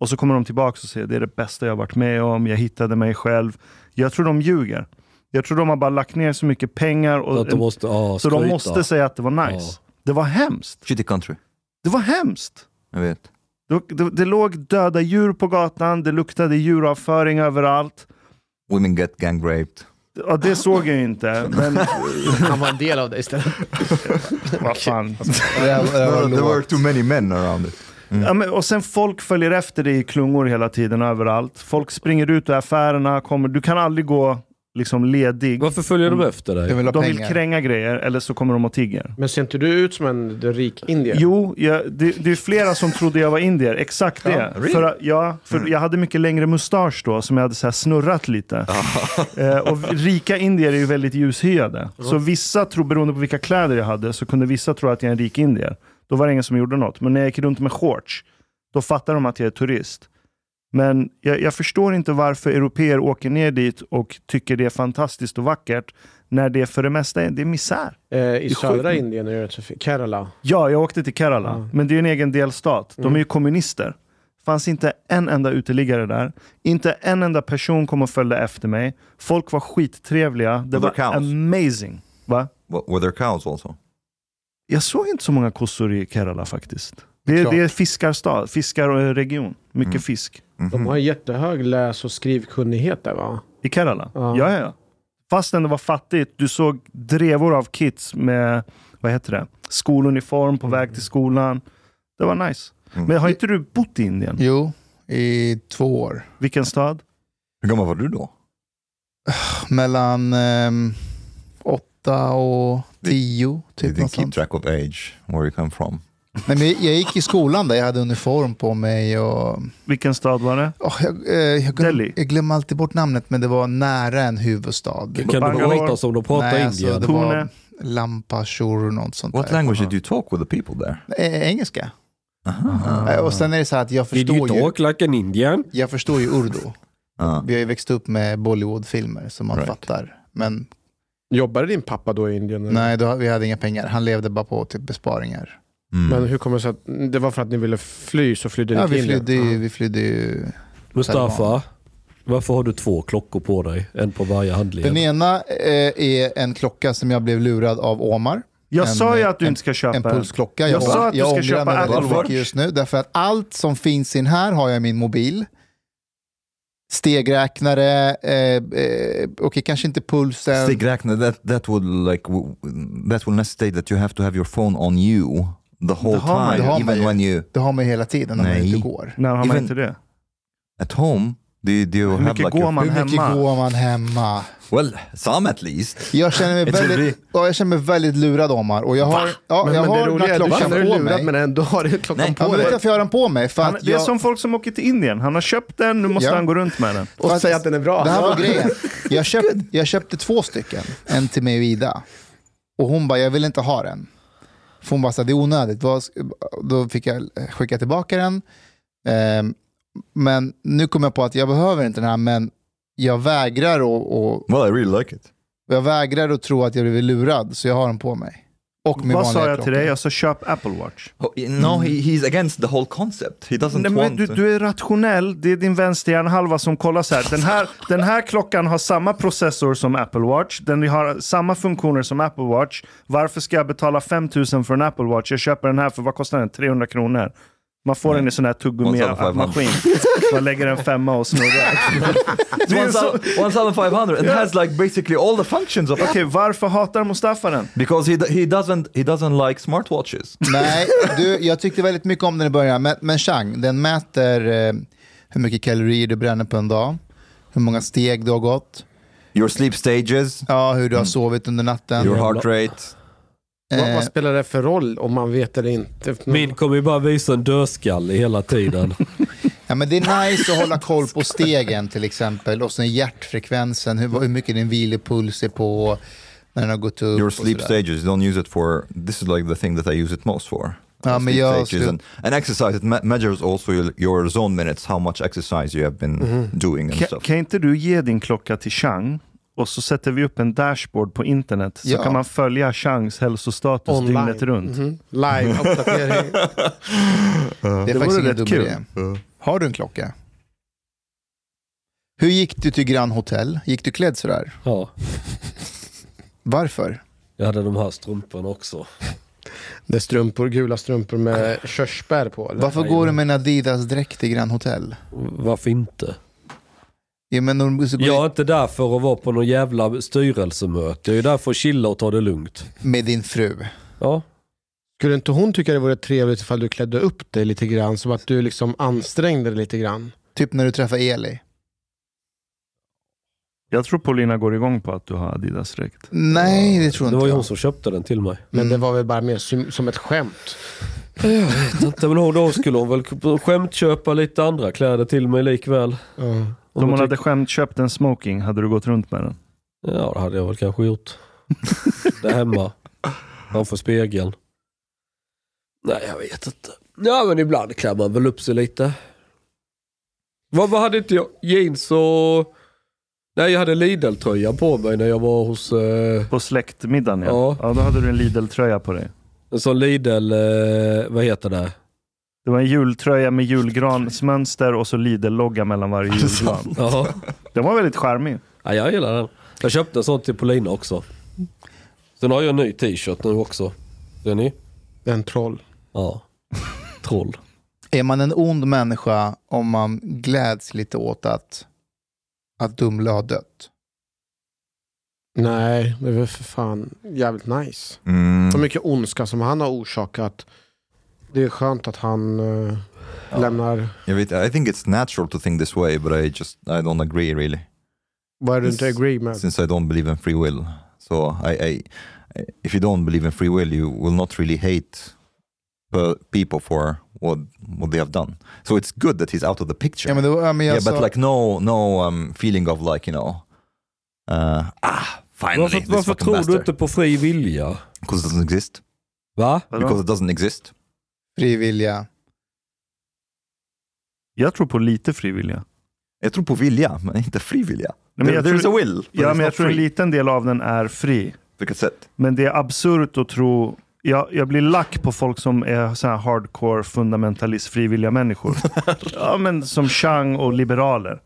S2: Och så kommer de tillbaka och säger det är det bästa jag har varit med om. Jag hittade mig själv. Jag tror de ljuger. Jag tror de har bara lagt ner så mycket pengar. Och,
S3: Så att de måste, ja,
S2: så de
S3: skryta.
S2: måste säga att det var nice. Det var hemskt.
S1: Shitty country.
S2: Det var hemskt.
S1: Jag vet.
S2: Det, det, det låg döda djur på gatan. Det luktade djuravföring överallt.
S1: Women get gang raped.
S2: Ja, det såg jag ju inte. Men
S4: Han var en del av det istället.
S2: vad fan.
S5: Det där- det där var
S1: there were
S5: lågt.
S1: too many men around it.
S2: Ja, men, och sen folk följer efter dig i klungor hela tiden överallt. Folk springer ut ur affärerna. Kommer, du kan aldrig gå liksom, ledig.
S3: Varför följer de efter
S5: Jag
S3: dig?
S5: vill ha
S2: De vill
S5: pengar.
S2: kränga grejer eller så kommer de och tigger.
S4: Men ser inte du ut som en rik indier?
S2: Jo, jag, det, det är flera som trodde jag var indier. Exakt det.
S1: really?
S2: för, att- ja, för Jag hade mycket längre mustasch då, som jag hade så här snurrat lite. eh, och rika indier är ju väldigt ljushyade. Så vissa, tror, beroende på vilka kläder jag hade, så kunde vissa tro att jag är en rik indier. Då var det ingen som gjorde något. Men när jag gick runt med shorts, då fattade de att jag är turist. Men jag, jag förstår inte varför europeer åker ner dit och tycker det är fantastiskt och vackert, när det för det mesta är, det är misär.
S4: Eh, I
S2: är
S4: södra
S2: sjukt.
S4: Indien är det rätt så fint. Kerala.
S2: Ja, jag åkte till Kerala.
S4: Ja.
S2: Men det är ju en egen delstat. De är ju kommunister. fanns inte en enda uteliggare där. Inte en enda person kom och följde efter mig. Folk var skittrevliga. Det
S1: Och
S2: var
S1: det kaos.
S2: amazing. Va?
S1: Wa- Were there cows also?
S2: Jag såg inte så många kossor i Kerala faktiskt. Det är,
S5: Klart.
S2: det är fiskarstad, fiskarregion. Mycket
S1: Mm.
S2: fisk.
S1: Mhm.
S4: De har jättehög läs och skrivkunnighet där va?
S2: I Kerala?
S4: Ja.
S2: Ja, ja, ja. Fastän det var fattigt, du såg drevor av kids med, vad heter det, skoluniform på väg till skolan. Det var nice.
S1: Mm.
S2: Men har inte du bott i Indien?
S5: Jo, i två år.
S2: Vilken stad?
S1: Hur gammal var du då?
S5: Mellan ehm, åtta och tio. Typ
S1: Did you
S5: något
S1: keep
S5: sånt.
S1: track of age, where you come from?
S5: Nej, men jag gick i skolan där jag hade uniform på mig. Och,
S2: Vilken stad var det?
S5: Åh, jag, eh, jag, glöm-
S2: Delhi.
S5: jag glömmer alltid bort namnet, men det var nära en huvudstad.
S3: Kan du
S2: Bangalore.
S3: prata som de pratar
S5: Nej,
S3: indier?
S5: alltså, det
S2: Pune.
S5: var Lampashore och något sånt
S1: What
S5: där.
S1: language did you talk with the people there?
S5: Eh, engelska. Eh, Och sen är det så här att jag
S3: Did you
S5: förstår ju,
S3: talk like an indian?
S5: jag förstår ju urdu.
S1: Ah.
S5: Vi har ju växt upp med Bollywood-filmer som man
S1: Right.
S5: fattar. Men
S2: Mm.
S4: Jobbade din pappa då i Indien? eller?
S5: nej, då, vi hade inga pengar. Han levde bara på typ besparingar.
S1: Mm.
S4: Men hur kommer det sig att det var för att ni ville fly så flydde ni
S5: Ja,
S4: till
S5: vi, flydde ju,
S4: Indien?
S5: vi flydde ju.
S3: Mustafa,
S5: Taliban.
S3: varför har du två klockor på dig? En på varje handled.
S5: Den ena eh, är en klocka som jag blev lurad av Omar.
S2: Jag
S5: En,
S2: sa ju att du
S5: en-
S2: inte ska köpa
S5: En pulsklocka.
S2: Jag sa att du ska
S5: ångrar
S2: köpa
S5: mig väldigt
S2: Apple
S5: mycket
S2: Watch.
S5: just nu. Därför att allt som finns in här har jag i min mobil. stegräknare, eh, eh, okej kanske inte pulsen.
S1: Stegräknare, that, that would like w- that will necessitate that you have to have your phone on you the whole
S2: Det har man-
S1: time,
S5: det har man
S1: even
S5: ju.
S1: when you
S5: det har man ju hela tiden när man är
S1: Nej.
S5: ute och går.
S2: När har man
S1: Even-
S2: inte det?
S1: at home. Do you, do you
S2: Hur
S1: have
S2: mycket
S1: like
S2: går
S1: your,
S2: man
S5: Hur mycket
S2: hemma?
S5: går man hemma?
S1: well some at least?
S5: Jag känner mig
S1: Jag tror
S5: väldigt, ja, jag känner mig väldigt lurad Omar. Och jag har, ja,
S4: Men,
S5: jag
S4: men
S5: har
S4: det
S5: den
S4: roliga
S5: här
S4: är att du
S5: klockan
S4: känner dig
S5: på
S4: lurad men
S5: mig.
S4: ändå har du klockan
S1: Nej.
S5: Ja,
S4: på
S5: men vet du
S4: dig.
S5: varför jag har den på mig? För
S2: Han,
S5: att
S2: det är
S5: jag,
S2: som folk som åker till Indien. Han har köpt den, nu måste
S5: Ja.
S2: han gå runt med den.
S5: för
S4: Och säga att den är bra.
S5: Det här var grejen. Jag, köpt, jag köpte två stycken. En till mig och Ida. Och hon bara, jag vill inte ha den. För hon bara, så här, det är onödigt. Vad ska- Då fick jag eh, skicka tillbaka den. Ehm, Men nu kom jag på att jag behöver inte den här, men jag vägrar och, och
S1: Well I really like it.
S5: jag vägrar att tro att jag blivit lurad, så jag har den på mig. Och min
S2: Vad
S5: vanliga
S2: sa jag till
S5: klocka.
S2: dig? Jag sa köp Apple Watch.
S1: Oh, no, he, he's against the whole concept. He doesn't
S2: Nej, men
S1: want
S2: du,
S5: typ.
S1: to-
S2: du är rationell, det är din vänsterhjärnhalva som kollar så här. Den, här. den här klockan har samma processor som Apple Watch, den har samma funktioner som Apple Watch. Varför ska jag betala 5000 för en Apple Watch? Jag köper den här för vad kostar den? 300 kronor. Man får den i sån här tuggummi-maskin.
S1: 1500.
S2: Man lägger en femma och snurrar. Det är en så-
S1: 1500 and has like basically all the functions of
S2: Okej, varför hatar Mustafa den?
S1: because he he doesn't he doesn't like smartwatches.
S5: Nej, du, jag tyckte väldigt mycket om den i början. Men, men Chang, den mäter eh, hur mycket kalorier du bränner på en dag, hur många steg du har gått,
S1: Your sleep stages,
S5: ja, hur du har sovit under natten.
S1: your heart rate.
S4: Vad,
S5: Eh,
S4: vad spelar det för roll om man vet eller inte?
S3: Min kommer ju bara visa en dödskalle hela tiden.
S5: ja, men det är nice att hålla koll på stegen till exempel och sen hjärtfrekvensen, hur, hur mycket din vilopuls är på när den har gått upp.
S1: Your
S5: och
S1: sleep
S5: sådär.
S1: stages. Don't use it for. This is like the thing that I use it most for.
S5: Ja,
S1: Uh,
S5: men
S1: sleep
S5: jag
S1: stages
S5: slu-
S1: and, and exercise. It me- measures also your, your zone minutes, how much exercise you have been doing and
S2: Ka,
S1: stuff.
S2: kan inte du ge din klocka till Chang? Och så sätter vi upp en dashboard på internet. Så
S5: Ja.
S2: kan man följa Changs hälsostatus
S4: Online.
S2: dygnet runt.
S4: Mhm. Live, uppdatering.
S5: Det är
S2: Det
S5: faktiskt
S2: vore
S5: ingen dum
S2: rätt kul.
S5: idé. Har du en klocka? Hur gick du till Grand Hotel? Gick du klädd sådär?
S3: Ja,
S5: Varför?
S3: jag hade de här strumporna också.
S4: Det är strumpor, gula strumpor med körsbär på. Eller?
S5: Varför går du med en Adidas-dräkt till Grand Hotel?
S3: Varför inte?
S5: Ja, men de, så går
S3: Jag är inte där för att vara på någon jävla styrelsemöte. Jag är där för att chilla och ta det lugnt.
S5: med din fru.
S3: Ja,
S4: Skulle inte hon tycka det vore trevligt ifall du klädde upp dig lite grann? Som att du liksom ansträngde dig lite grann.
S5: Typ när du träffar Eli.
S2: Jag tror Paulina går igång på att du har Adidas-dräkt.
S5: Nej, det tror
S3: det
S5: inte
S3: var ju
S5: jag.
S3: hon som köpte den till mig.
S4: Men
S5: Mm.
S4: det var väl bara mer som, som ett skämt.
S3: Inte, men hon- då skulle hon väl skämtköpa lite andra kläder till mig likväl.
S4: Ja.
S3: Om
S2: Om hon
S3: hon
S2: hade skämt köpt en smoking, hade du gått runt med den?
S3: Ja, det hade jag väl kanske gjort. Där hemma. Framför spegeln. Nej, jag vet inte. Ja, men ibland klär man väl upp sig lite. Vad, vad hade inte jag? Jeans och... Nej, jag hade Lidl-tröja på mig när jag var hos... Eh,
S2: På släktmiddagen ja.
S3: Ja.
S2: ja. då hade du en Lidl-tröja på dig.
S3: en sån Lidl... Eh, vad heter det?
S2: Det var en jultröja med julgransmönster och så Lidl-logga mellan varje julgran.
S3: Ja.
S2: Den var väldigt charmig.
S3: ja, jag gillar den. Jag köpte en sån till Polina också. Sen har jag en ny t-shirt nu också. Ser ni?
S4: Det är en troll.
S3: Ja. Troll.
S5: Är man en ond människa om man gläds lite åt att, att Dumle har dött?
S4: Nej, det är väl för fan jävligt nice.
S1: Mm.
S4: Så mycket ondska som han har orsakat. Det är skönt att han eh, lämnar...
S1: Jag vet, I think it's natural to think this way, but I just I don't agree really,
S4: Vad är det du inte agree med?
S1: since I don't believe in free will. So I, I if you don't believe in free will, you will not really hate uh, people for what what they have done. So it's good that he's out of the picture.
S5: Ja, men det var, ja, men jag
S1: yeah,
S5: sa,
S1: but like no no um, feeling of like you know uh, ah finally
S3: Varför,
S1: this
S3: varför
S1: fucking
S3: tror du
S1: bastard.
S3: inte på fri vilja?
S1: Because it doesn't exist.
S3: Va?
S2: Vadå?
S1: Because it doesn't exist.
S5: frivilliga.
S2: Jag tror på lite frivilliga.
S1: Jag tror på vilja, men inte fri vilja.
S2: Nej, men jag
S1: There- There's
S2: tror,
S1: a will, but
S2: ja,
S1: it's
S2: men jag
S1: not
S2: tror en
S1: free.
S2: liten del av den är fri.
S1: Vilket sätt?
S2: Men det är absurt att tro... Jag, jag blir lack på folk som är så här hardcore fundamentalist frivilliga människor. ja, men som Chang och liberaler.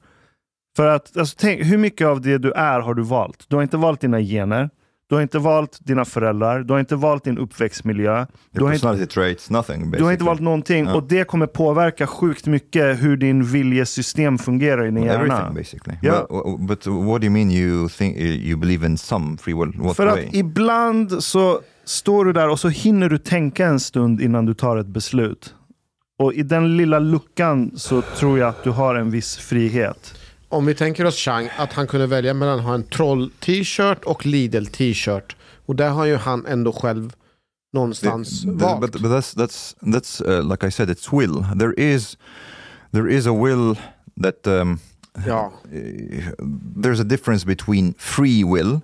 S2: För att, alltså, tänk, hur mycket av det du är har du valt? Du har inte valt dina gener. Du har inte valt dina föräldrar, du har inte valt din uppväxtmiljö. Du
S1: Your
S2: har, inte,
S1: personality traits, nothing basically.
S2: du har inte valt någonting
S1: Ja.
S2: och det kommer påverka sjukt mycket hur din viljesystem fungerar i din hjärna.
S1: Everything basically.
S2: Ja.
S1: But, uh, but what do you mean you think uh, you believe in some free will? What
S2: För
S1: way?
S2: att ibland så står du där och så hinner du tänka en stund innan du tar ett beslut. Och i den lilla luckan så tror jag att du har en viss frihet.
S4: Om vi tänker oss Chang, att han kunde välja mellan att ha en troll-t-shirt och Lidl-t-shirt. Och där har ju han ändå själv någonstans
S1: Th- th-
S4: valt.
S1: but, but that's that's that's uh, like I said, it's will. There is there is a will that um,
S4: ja.
S1: eh, there's a difference between free will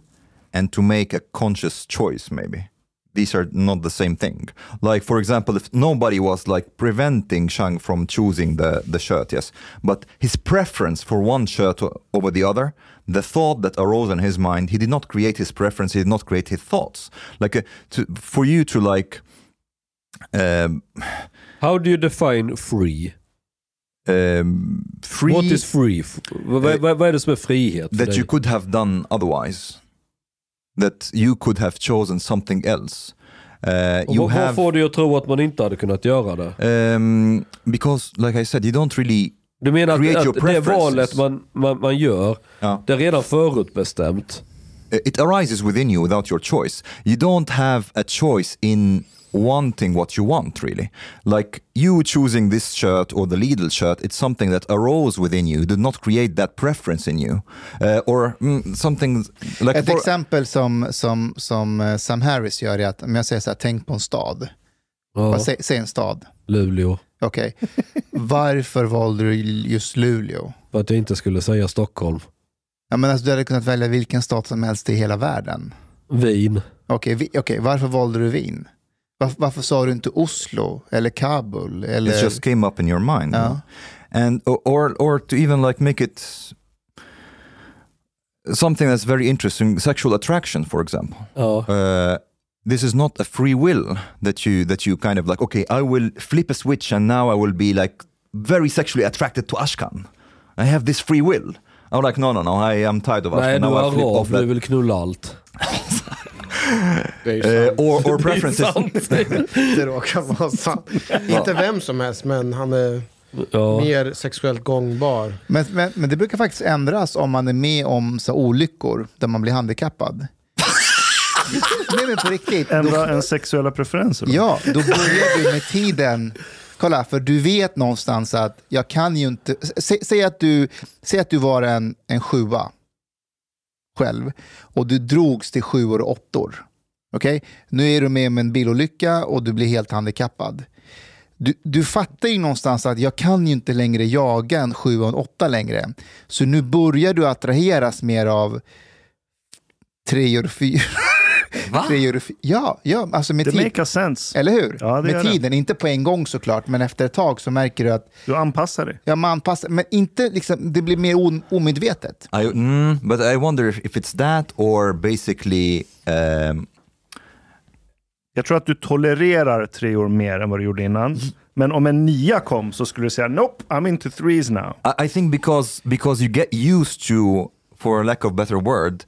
S1: and to make a conscious choice. Maybe these are not the same thing. Like for example, if nobody was like preventing Shang from choosing the the shirt, yes, but his preference for one shirt o- over the other. The thought that arose in his mind, he did not create his preference. He did not create his thoughts. Like uh, to, for you to like um,
S3: How do you define free?
S1: um, free Eh,
S3: What is free? F- Vad vad- vad är det som är frihet för
S1: that
S3: dig?
S1: you could have done otherwise, that you could have chosen something else. Uh,
S3: Och
S1: you
S3: vad, vad
S1: have
S3: får dig att tro att man inte hade kunnat göra det?
S1: um, because, like I said, you don't really.
S3: Du menar
S1: Create
S3: att,
S1: your
S3: att det
S1: preferences.
S3: valet man, man, man gör,
S1: Ja.
S3: det är redan förutbestämt.
S1: It arises within you without your choice. You don't have a choice in wanting what you want, really. Like you choosing this shirt or the Lidl shirt, it's something that arose within you. Did not create that preference in you, uh, or mm, something like.
S5: Ett
S1: for-
S5: exempel som, som, som eh, Sam Harris gör är att om jag säger så här, tänk på en stad.
S3: Ja,
S5: Bara Säg, säg en stad.
S3: Luleå.
S5: Okej. Varför valde du just Luleå?
S3: För att jag inte skulle säga Stockholm.
S5: Ja, men alltså, du hade kunnat välja vilken stat som helst i hela världen.
S3: Wien.
S5: Okej, vi, okej, varför valde du Wien? Varför, varför sa du inte Oslo eller Kabul? Eller...
S1: It just came up in your mind.
S5: Ja.
S1: and or- or or to even like make it something that's very interesting sexual attraction for example
S3: Ja.
S1: uh, this is not a free will that you that you kind of like okay i will flip a switch and now i will be like very sexually attracted to ashkan i have this free will i'm like no no no i am tired of
S3: Nej,
S1: ashkan
S3: du
S1: now i
S3: är
S1: flip
S3: arab,
S1: off
S3: du
S1: that
S3: vill knulla allt.
S4: Det är ju
S1: uh,
S4: sant.
S1: or or preferences
S4: Det råkar vara sant. Inte vem som helst, men han är
S3: Ja.
S4: mer sexuellt gångbar.
S5: Men, men, men det brukar faktiskt ändras om man är med om så, här olyckor där man blir handikappad. Nej men på riktigt. Då,
S2: Ändra en sexuella preferenser. då.
S5: ja, då börjar du med tiden. Kolla, för du vet någonstans att jag kan ju inte... Sä, säg, att du, säg att du var en, en sjua själv och du drogs till sjuor och åttor. Okej? Nu är du med om en bilolycka och du blir helt handikappad. Du, du fattar ju någonstans att jag kan ju inte längre jaga en 7 och en 8 längre. Så nu börjar du attraheras mer av treor och fyror. Treor och fy- Ja, ja, alltså med
S2: Ah. Det
S5: tid.
S2: makes sense.
S5: Eller hur?
S2: Ja, det gör
S5: med
S2: det.
S5: tiden, inte på en gång såklart, men efter ett tag så märker du att
S2: Du anpassar dig.
S5: ja, man passar, men inte liksom, det blir mer on, omedvetet.
S1: I, mm, but I wonder if it's that or basically um,
S2: Jag tror att du tolererar treor mer än vad du gjorde innan.
S5: Mm.
S2: Men om en nia kom så skulle du säga nope, I'm into threes now.
S1: I I think because because you get used to, for lack of better word,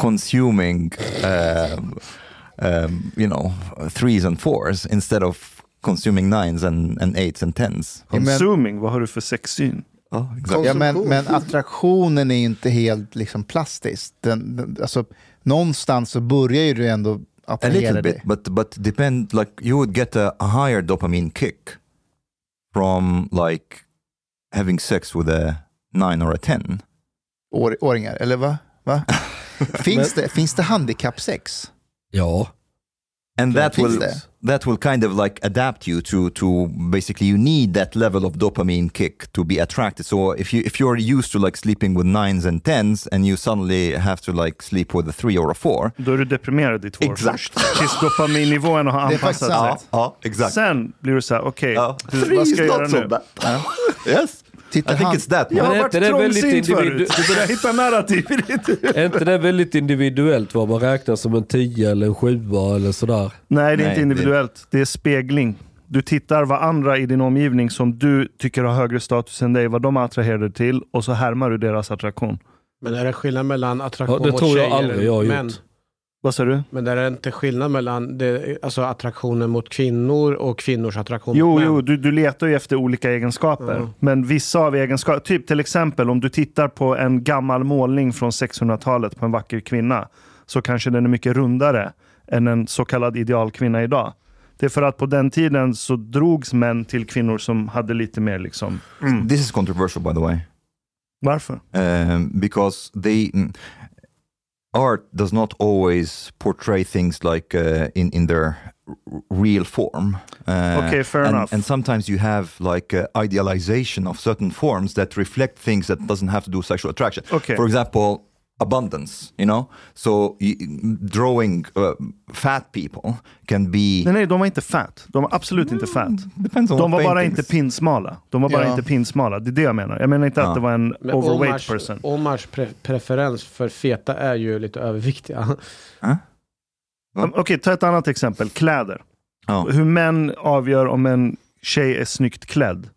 S1: consuming, um, um, you know, threes and fours instead of consuming nines and, and eights and tens.
S5: men-
S2: Consuming, vad har du för sexsyn?
S1: Oh,
S5: Ja, men, men attraktionen är ju inte helt liksom plastisk. Den, den, alltså, någonstans så börjar ju du ändå
S1: A little
S5: attrahera
S1: bit,
S5: dig.
S1: but but depend like you would get a, a higher dopamine kick from like having sex with a nine or a ten.
S5: År, åringar, eller va? va? finns, det, finns det handikappsex?
S3: ja.
S1: and that
S5: finns
S1: will
S5: det.
S1: that will kind of like adapt you to to basically you need that level of dopamine kick to be attracted so if you if you're used to like sleeping with nines and tens and you suddenly have to like sleep with a three or a four
S2: Då är du deprimerad i två år
S1: Exakt.
S2: först. Tills dopaminnivåerna har
S5: Det är faktiskt
S2: anpassat sig.
S5: sant.
S1: oh exactly
S2: Sen blir du så här, okej,
S1: oh,
S2: du,
S1: three
S2: vad
S1: is
S2: ska jag
S1: not
S2: göra
S1: so
S2: nu?
S1: bad yes
S5: Titta,
S1: i think
S5: han-
S1: it's that
S2: Jag
S1: man.
S2: har
S3: Men
S2: varit
S3: det är väldigt
S2: trångsynt förut.
S3: individ-
S2: Jag hittar narrativ i ditt
S3: Är inte det väldigt individuellt vad man räknar som en 10 eller en 7 eller sådär?
S2: Nej, det
S1: Nej,
S2: är inte individuellt. Det är spegling. Du tittar vad andra i din omgivning som du tycker har högre status än dig, vad de är attraherade till och så härmar du deras attraktion.
S4: Men är det skillnad mellan attraktion
S3: Ja, det
S4: mot
S3: tror jag
S4: tjejer
S3: aldrig jag har
S4: och
S3: gjort.
S4: män?
S2: Vad sa du?
S4: Men där är det inte skillnad mellan det, alltså attraktionen mot kvinnor och kvinnors attraktion
S2: Jo,
S4: mot män.
S2: jo du, du letar ju efter olika egenskaper.
S4: Ja.
S2: Men vissa av egenskaperna, typ till exempel om du tittar på en gammal målning från 600-talet på en vacker kvinna, så kanske den är mycket rundare än en så kallad idealkvinna idag. Det är för att på den tiden så drogs män till kvinnor som hade lite mer liksom...
S1: This is controversial, by the way,
S2: Varför?
S1: um, because they mm, art does not always portray things like uh, in in their r- real form. Uh,
S2: Okay, fair
S1: and,
S2: enough.
S1: And sometimes you have like uh, idealization of certain forms that reflect things that doesn't have to do with sexual attraction.
S2: Okay.
S1: For example, abundance. You know, so y- drawing uh, fat people can be Mm,
S2: Nej, nej, de var inte fat. De var absolut inte fat.
S1: depends on
S2: Mm. De
S1: what
S2: var bara
S1: paintings.
S2: inte pinsmala. De var bara
S5: Ja.
S2: inte pinsmala. Det är det jag menar. Jag menar inte
S1: Ja.
S2: att det var en
S4: Men
S2: overweight
S4: Omars-
S2: person.
S4: Omars pre- preferens för feta är ju lite överviktiga.
S1: Ja.
S2: Um, Okej, ta ett annat exempel. Kläder.
S1: Ja.
S2: Hur män avgör om en tjej är snyggt klädd.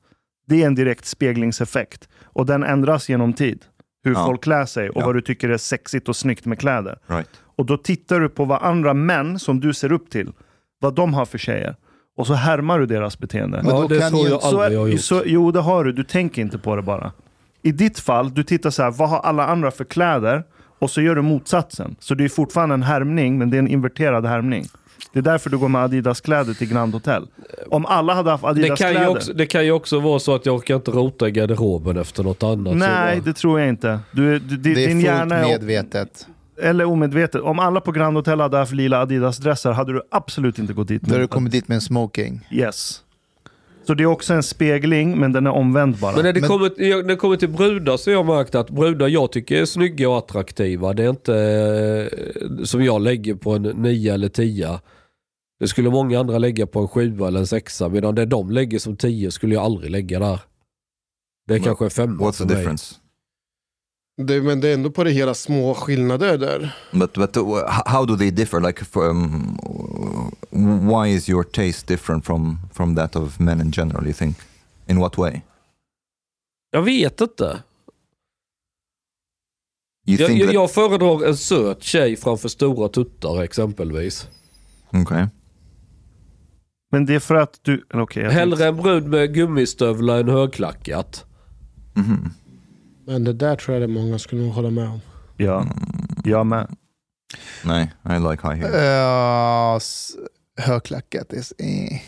S2: Det är en direkt speglingseffekt. Och den ändras genom tid. Hur
S1: Ja.
S2: folk klär sig och
S1: Ja.
S2: vad du tycker är sexigt och snyggt med kläder.
S1: Right.
S2: Och då tittar du på vad andra män som du ser upp till, vad de har för tjejer. Och så härmar du deras beteende.
S5: Men
S3: Ja,
S5: då
S3: det
S5: kan
S3: tror
S5: ju-
S3: jag aldrig jag har gjort.
S2: Så, jo, det har du. Du tänker inte på det bara. I ditt fall, du tittar så här, vad har alla andra för kläder? Och så gör du motsatsen. Så det är fortfarande en härmning, men det är en inverterad härmning. Det är därför du går med Adidas-kläder till Grand Hotel. Om alla hade haft
S3: Det kan, ju
S2: Adidas-kläder...
S3: också, det kan ju också vara så att jag orkar inte rota i garderoben efter något annat. Så
S2: Nej,
S3: jag bara-
S2: det tror jag inte. Du, du,
S5: Det är
S2: din hjärna
S5: fullt
S2: är...
S5: medvetet.
S2: Eller omedvetet. Om alla på Grand Hotel hade haft lila Adidas-dressar hade du absolut inte gått dit.
S5: Då har du kommit dit med en smoking.
S2: Yes. Så det är också en spegling, men den är omvänd bara.
S3: Men när det,
S5: Men-
S3: Kommer, jag- när det kommer till brudar så har jag märkt att brudar jag tycker är snygga och attraktiva, det är inte eh, som jag lägger på en 9 eller 10. Det skulle många andra lägga på en 7 eller en 6 medan det de lägger som 10 skulle jag aldrig lägga där. Det är
S1: Men
S3: kanske en 5
S1: What's the difference?
S4: Det, men det är ändå på det hela små skillnader där.
S1: But but uh, h- how do they differ? Like, from, why is your taste different from from that of men in general? You think? In what way?
S3: Jag vet inte.
S1: You
S3: Jag,
S1: think
S3: jag,
S1: that?
S3: jag föredrar en söt tjej framför stora tuttar exempelvis.
S1: Okay.
S2: Men det är för att du... eller Okej, jag tänkte-
S3: Hellre en brud med gummistövlar än högklackat.
S1: Mhm.
S4: Men det där tror jag det är många skulle nog hålla med om.
S2: Ja,
S1: Mm.
S2: jag med.
S1: Nej, I like high heels.
S5: Uh, s- högklackat. det är s- eh.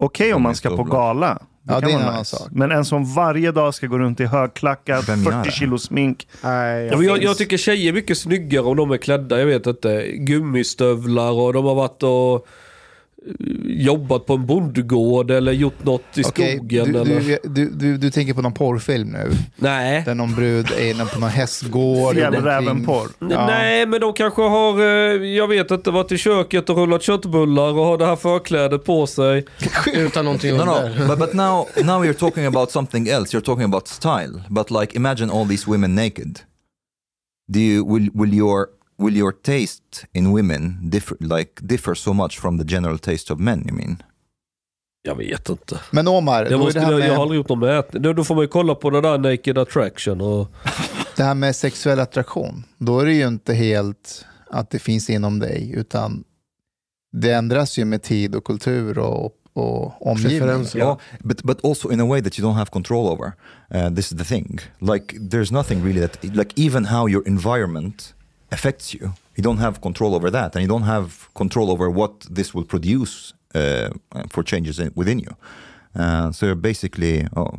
S2: Okej om
S1: De
S2: man
S1: är
S2: ska på
S1: stora.
S2: gala. Det kan
S5: Ja, det är
S2: vara
S5: en annan
S2: nice.
S5: sak.
S2: Men en som varje dag ska gå runt i högklackat,
S1: Vem gör
S2: 40
S1: det?
S2: kilo smink.
S4: Nej,
S3: Ja, men jag, jag tycker tjejer är mycket snyggare om de är klädda, jag vet inte, gummistövlar och de har varit och eh, jobbat på en bondgård eller gjort något i
S5: Okej,
S3: skogen.
S5: du,
S3: eller...
S5: du, du, du, du tänker på någon porrfilm nu.
S3: Nej.
S5: Där någon brud är inne på någon hästgård.
S2: Fjällrävenporr.
S5: Ja.
S3: Nej, men de kanske har, eh, jag vet inte, varit i köket och rullat köttbullar och har det här förklädet på sig.
S4: Utan någonting
S1: No,
S4: under.
S1: no, but, but now now you're talking about something else. You're talking about style. But like, imagine all these women naked. Do you will will your will your taste in women differ like differ so much from the general taste of men? You mean?
S3: Jag vet inte.
S5: Men Omar,
S3: Jag,
S5: då är
S3: måste,
S5: det, här
S3: jag, jag har
S5: med,
S3: aldrig gjort någon mätning. Då- Då får man ju kolla på det där Naked Attraction och...
S5: det här med sexuell attraktion. Då är det ju inte helt att det finns inom dig, utan det ändras ju med tid och kultur och, och omgivning.
S4: Preferenser.
S1: Yeah. but but also in a way that you don't have control over. Uh, this is the thing. Like there's nothing really that like even how your environment affects you. You don't have control over that, and you don't have control over what this will produce uh, for changes in, within you. Uh, so you're basically oh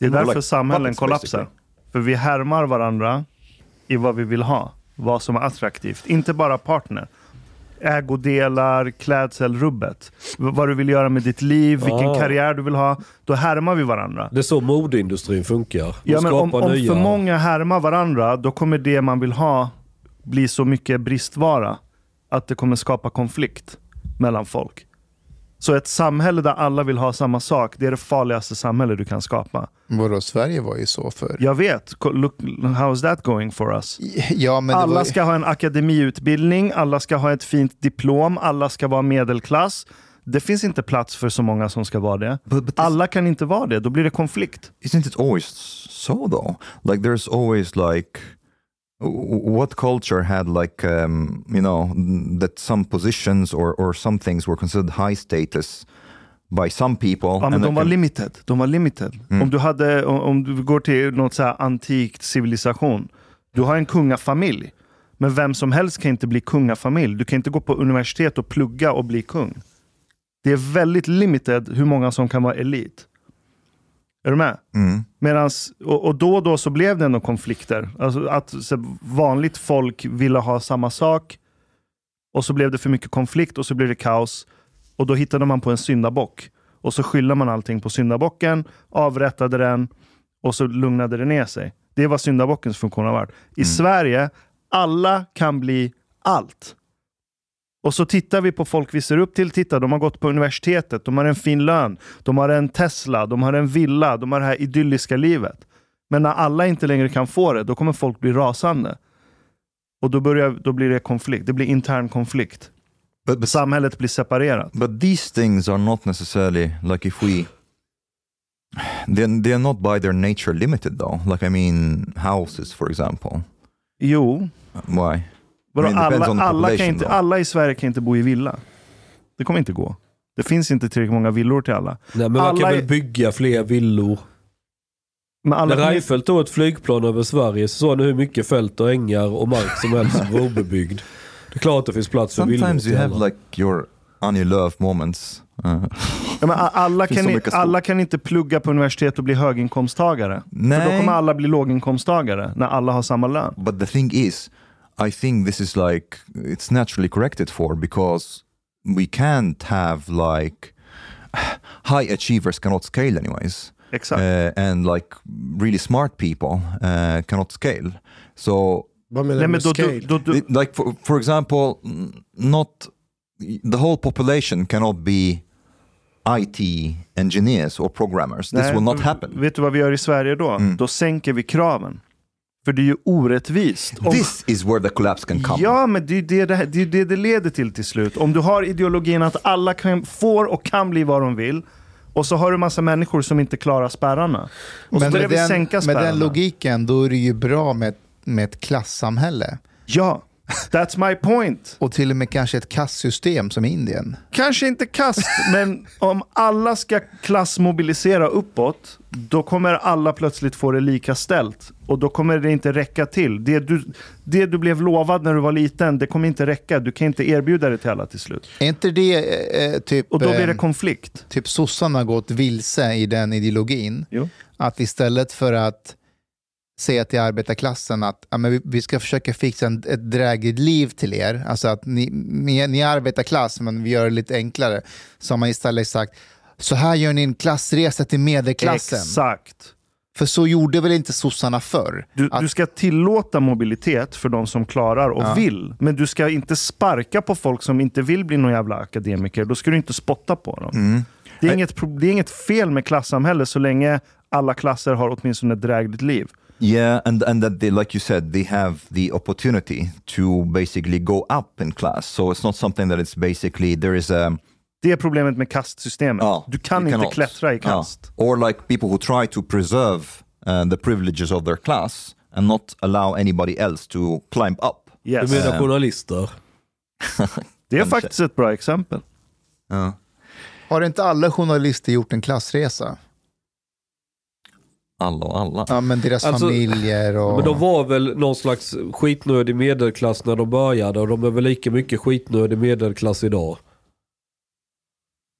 S2: Det är
S1: More
S2: därför
S1: like
S2: samhällen
S1: puppets,
S2: kollapsar.
S1: basically.
S2: För vi härmar varandra i vad vi vill ha. Vad som är attraktivt. Inte bara partner. Ägodelar, klädsel, rubbet. V- Vad du vill göra med ditt liv, vilken
S3: Ah.
S2: karriär du vill ha. Då härmar vi varandra.
S3: Det är så modeindustrin funkar. De
S2: Ja, men om,
S3: skapar
S2: om
S3: nya-
S2: för många härmar varandra, då kommer det man vill ha bli så mycket bristvara att det kommer skapa konflikt mellan folk. Så ett samhälle där alla vill ha samma sak, det är det farligaste samhälle du kan skapa.
S5: Vadå, Sverige var ju så för.
S2: Jag vet, ko- look, how's that going for us?
S5: Ja, men det var,
S2: Alla
S5: ju-
S2: ska ha en akademiutbildning, alla ska ha ett fint diplom, alla ska vara medelklass. Det finns inte plats för så många som ska vara det.
S1: But- but this-
S2: Alla kan inte vara det, då blir det konflikt.
S1: isn't it always so though? Like there's always like what culture had like um, you know that some positions or or some things were considered high status by some people.
S2: Ja, men Mm.
S1: and
S2: de
S1: that
S2: var
S1: can-
S2: limited. De var limited. Om, du hade, om, om du går till något så här antikt civilisation. Du har en kungafamilj. Men vem som helst kan inte bli kungafamilj. Du kan inte gå på universitet och plugga och bli kung. Det är väldigt limited hur många som kan vara elit. Är du med?
S1: Mm.
S2: Medans, och, och då och då så blev det ändå konflikter. Alltså att så, vanligt folk ville ha samma sak och så blev det för mycket konflikt och så blev det kaos. Och då hittade man på en syndabock. Och så skyllde man allting på syndabocken, avrättade den och så lugnade det ner sig. Det var syndabockens funktion har varit. I Sverige, alla kan bli allt. Och så tittar vi på folk vi ser upp till. Titta, de har gått på universitetet, de har en fin lön, de har en Tesla, de har en villa, de har det här idylliska livet. Men när alla inte längre kan få det, då kommer folk bli rasande. Och då, börjar, då blir det konflikt. Det blir intern konflikt.
S1: But, but,
S2: Samhället blir separerat.
S1: but these things are not necessarily like if we. They're, they're not by their nature limited though. Like I mean, houses for example.
S2: Jo,
S1: Why?
S2: vadå,
S1: I mean, it depends
S2: alla,
S1: on the
S2: alla, kan
S1: population
S2: inte,
S1: då.
S2: alla i Sverige kan inte bo i villa. Det kommer inte gå. Det finns inte tillräckligt många villor till alla.
S3: Nej, men man
S2: Alla
S3: kan
S2: är-
S3: väl bygga fler villor.
S2: Men alla
S3: När
S2: kan inte-
S3: Reinfeldt tog ett flygplan över Sverige så såg han hur mycket fält och ängar och mark som helst som var obebyggd. Det är klart att det finns plats för villor.
S1: Sometimes
S3: till
S1: you have
S3: alla.
S1: like your Annie Lööf moments. Uh,
S2: Ja, men a- alla,
S1: Finns
S2: kan,
S1: så
S2: i-
S1: mycket skog.
S2: alla kan inte plugga på universitet och bli höginkomsttagare. För då
S1: Nej.
S2: kommer alla bli låginkomsttagare när alla har samma lön.
S1: but the thing is, I think this is like it's naturally corrected for because we can't have like high achievers cannot scale anyways,
S2: Exakt.
S1: uh, and like really smart people uh, cannot scale. So
S4: Vad
S2: Nej,
S4: menar du
S2: men
S4: med
S2: då,
S4: scale?
S2: då, då, då,
S1: It- like for, for example n- not the whole population cannot be IT engineers or programmers this
S2: Nej,
S1: will not
S2: v-
S1: happen Mm.
S2: Vet du vad vi gör i Sverige då? Då sänker vi kraven. För det är ju orättvist. Om-
S1: this is where the collapse can come
S2: Ja, men det är ju det det, här- det, är ju det det leder till till slut. Om du har ideologin att alla kan, får och kan bli vad de vill, och så har du massa människor som inte klarar spärrarna. Och så
S5: Men
S2: börjar
S5: med
S2: vi
S5: den,
S2: sänka
S5: med
S2: spärrarna.
S5: den logiken, då är det ju bra med, med ett klassamhälle.
S2: Ja, that's my point.
S5: Och till och med kanske ett kastsystem som i Indien.
S2: Kanske inte kast, men om alla ska klassmobilisera uppåt, då kommer alla plötsligt få det lika ställt. Och då kommer det inte räcka till. Det du, det du blev lovad när du var liten, det kommer inte räcka. Du kan inte erbjuda det till alla till slut.
S5: Är inte det eh, eh, typ,
S2: Och då blir det
S5: eh,
S2: konflikt.
S5: typ sossarna har gått vilse i den ideologin?
S2: Jo.
S5: Att istället för att säga till arbetarklassen att ja, men vi, vi ska försöka fixa en, ett drägligt liv till er, alltså att ni, ni, ni är arbetarklass men vi gör det lite enklare, så har man istället sagt så här gör ni en klassresa till medelklassen.
S2: Exakt.
S5: För så gjorde väl inte sossarna förr?
S2: Du,
S5: att,
S2: du ska tillåta mobilitet för de som klarar och vill. Men du ska inte sparka på folk som inte vill bli någon jävla akademiker. Då ska du inte spotta på dem. Det, är inget, pro- det är inget fel med klassamhälle så länge alla klasser har åtminstone ett drägligt liv.
S1: yeah and and that they like you said they have the opportunity to basically go up in class so it's not something that it's basically there is a
S2: Det är problemet med kastsystemet.
S5: Oh,
S1: Ja,
S2: du kan
S1: you
S2: inte
S1: cannot.
S2: klättra i
S1: Ja.
S2: kast.
S1: Or like people who try to preserve uh, the privileges of their class and not allow anybody else to climb up.
S2: Yes.
S3: Du menar journalister?
S2: Det är faktiskt ett bra exempel.
S5: Uh. Har inte alla journalister gjort en klassresa?
S1: Alla och alla.
S5: Ja, men deras
S3: Alltså,
S5: familjer och...
S3: Men de var väl någon slags skitnödig medelklass när de började och de är väl lika mycket skitnödig medelklass idag.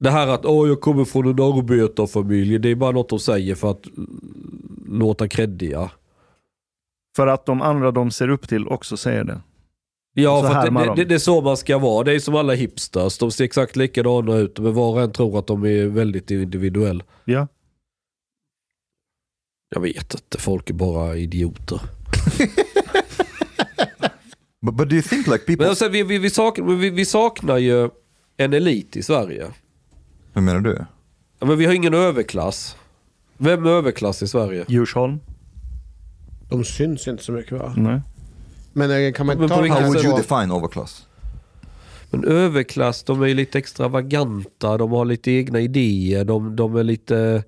S3: Det här att åh jag kommer från en arbetarfamilj, det är bara något de säger för att mm, låta creddiga.
S2: För att de andra de ser upp till också säger det.
S3: Ja,
S2: Så
S3: för att
S2: härmar
S3: det,
S2: de.
S3: det, det är så man ska vara. Det är som alla hipsters, de ser exakt likadana ut men var och en tror att de är väldigt individuell.
S2: Ja.
S3: Jag vet inte, folk är bara idioter.
S1: But, but do you think like people...
S3: Men alltså, vi, vi, vi, saknar, vi, vi saknar ju en elit i Sverige.
S1: Hur menar du?
S3: Ja, men vi har ingen överklass. Vem är överklass i Sverige?
S2: Djursholm?
S4: De syns inte så mycket va?
S2: Nej.
S4: Men eh, kan man
S3: Men
S4: inte
S3: på
S4: ta dem
S3: vilket
S1: How
S4: här
S1: would
S3: sätt-
S1: you
S4: på-
S1: define overclass?
S3: Men överklass, de är ju lite extravaganta, de har lite egna idéer, de, de är lite